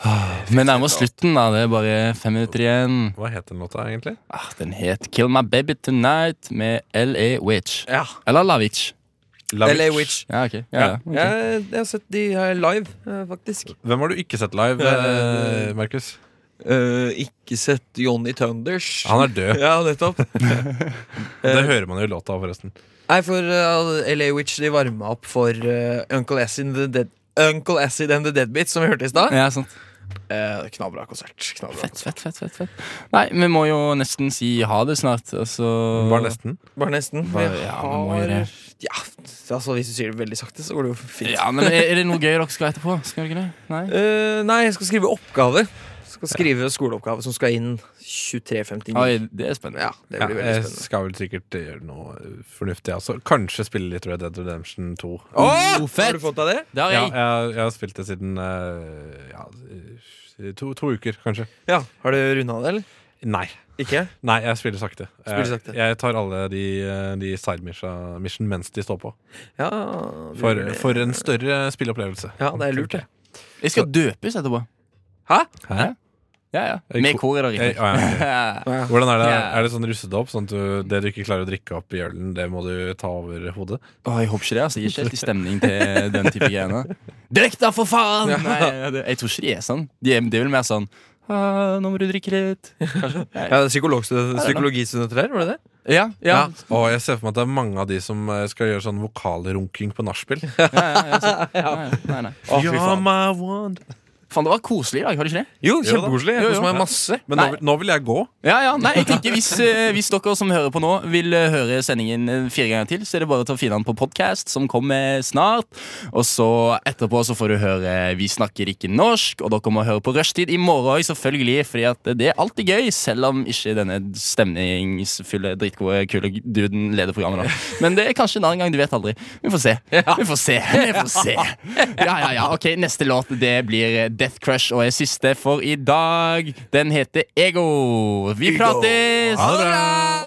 Ah, Vi nærmer oss slutten. da, Det er bare fem minutter igjen.
Hva het den låta, egentlig?
Ah, den het Kill My Baby Tonight med L.A. Witch.
Ja.
Eller La Witch.
LA Witch.
Ja, ok. Ja, ja. ok.
Jeg, jeg har sett de her live, eh, faktisk.
Hvem har du ikke sett live, eh, Markus?
Eh, ikke sett Johnny Thunders.
Han er død.
Ja, nettopp.
Det hører man jo i låta, forresten.
Nei, for eh, LA Witch de varma opp for eh, Uncle Acid and the Dead Uncle Acid and the Deadbeats, som vi hørte i stad.
ja sant.
Eh, knallbra konsert. Knallbra
fett, fett, fett, fett, fett. Nei, vi må jo nesten si ha det snart. Altså.
Bare nesten?
Bare nesten. Vi
Bare- ja, vi må gjøre
har
det.
Ja, altså hvis du sier det veldig sakte, så går det jo fint.
Ja, men er, er det noe gøy dere skal etterpå? Skal dere ikke det? Nei?
Eh, nei, jeg skal skrive oppgaver. Skal skrive skoleoppgave som skal inn 23.59.
Oi, det er spennende.
Ja, det blir
Ja,
veldig
jeg
spennende.
skal vel sikkert eh, gjøre noe fornuftig. Altså. Kanskje spille litt Red Dead Redemption 2.
Åh,
fett!
Har du fått deg det?
Det har
Ja,
jeg.
jeg, jeg har spilt det siden eh, ja, eh, to, to uker, kanskje.
Ja, Har du runda det, eller?
Nei.
Ikke?
Nei, jeg spiller sakte.
Spiller
Jeg-
sakte.
Jeg tar alle de, eh, de side mission mission mens de står på.
Ja, du
For,
gjør det.
for en større spilleopplevelse.
ja det er lurt, det.
Jeg skal døpes etterpå.
Hæ?
Hæ?
Ja, ja. Med kor i dag,
Eh,
riktig.
å, ja, ok.
Ja.
Hvordan er det?
Ja.
Er det sånn russedåp? Sånn at du, det du ikke klarer å drikke opp i ølen, det må du ta over hodet?
Å, jeg håper ikke det. altså Jeg er ikke helt i stemning til den type greiene. Drikk, da, for faen! Nei, det, jeg tror ikke de er sånn. De er, det er vel mer sånn «Ah, Nå må du drikke litt. Kanskje.
Ja, det er psykologstudenter, psykologistudenter her, var det det?
Ja, ja.
Ja.
Og jeg ser for meg at det er mange av de som eh, skal gjøre sånn vokalrunking på nachspiel.
ja, ja, ja, så- Nei, nei, nei.
Å, fy faen.
my one
Faen, det var koselig i dag, har det ikke det?
Jo,
Jo da.
kjempekoselig. Jeg
Jo, jo.
koser meg masse.
Men nå,
Nei.
vil- nå vil jeg gå.
Ja, ja, nei, jeg tenker hvis, eh, hvis dere som hører på nå vil eh, høre sendingen eh, fire ganger til, så er det bare til å finne den på podcast som kommer snart. Og så etterpå så får du høre Vi snakker ikke norsk, og dere må høre på Rushtid i morgen også, selvfølgelig, fordi at det er alltid gøy, selv om ikke denne stemningsfulle, dritgode, kule duden leder programmet da. Men det er kanskje en annen gang, du vet aldri. Vi får se. Vi får se. Vi får se. Ja, ja, ja. Ok, neste låt det blir eh, Death Crush og er siste for i dag. Den heter Ego. Vi prates!
Ha det bra!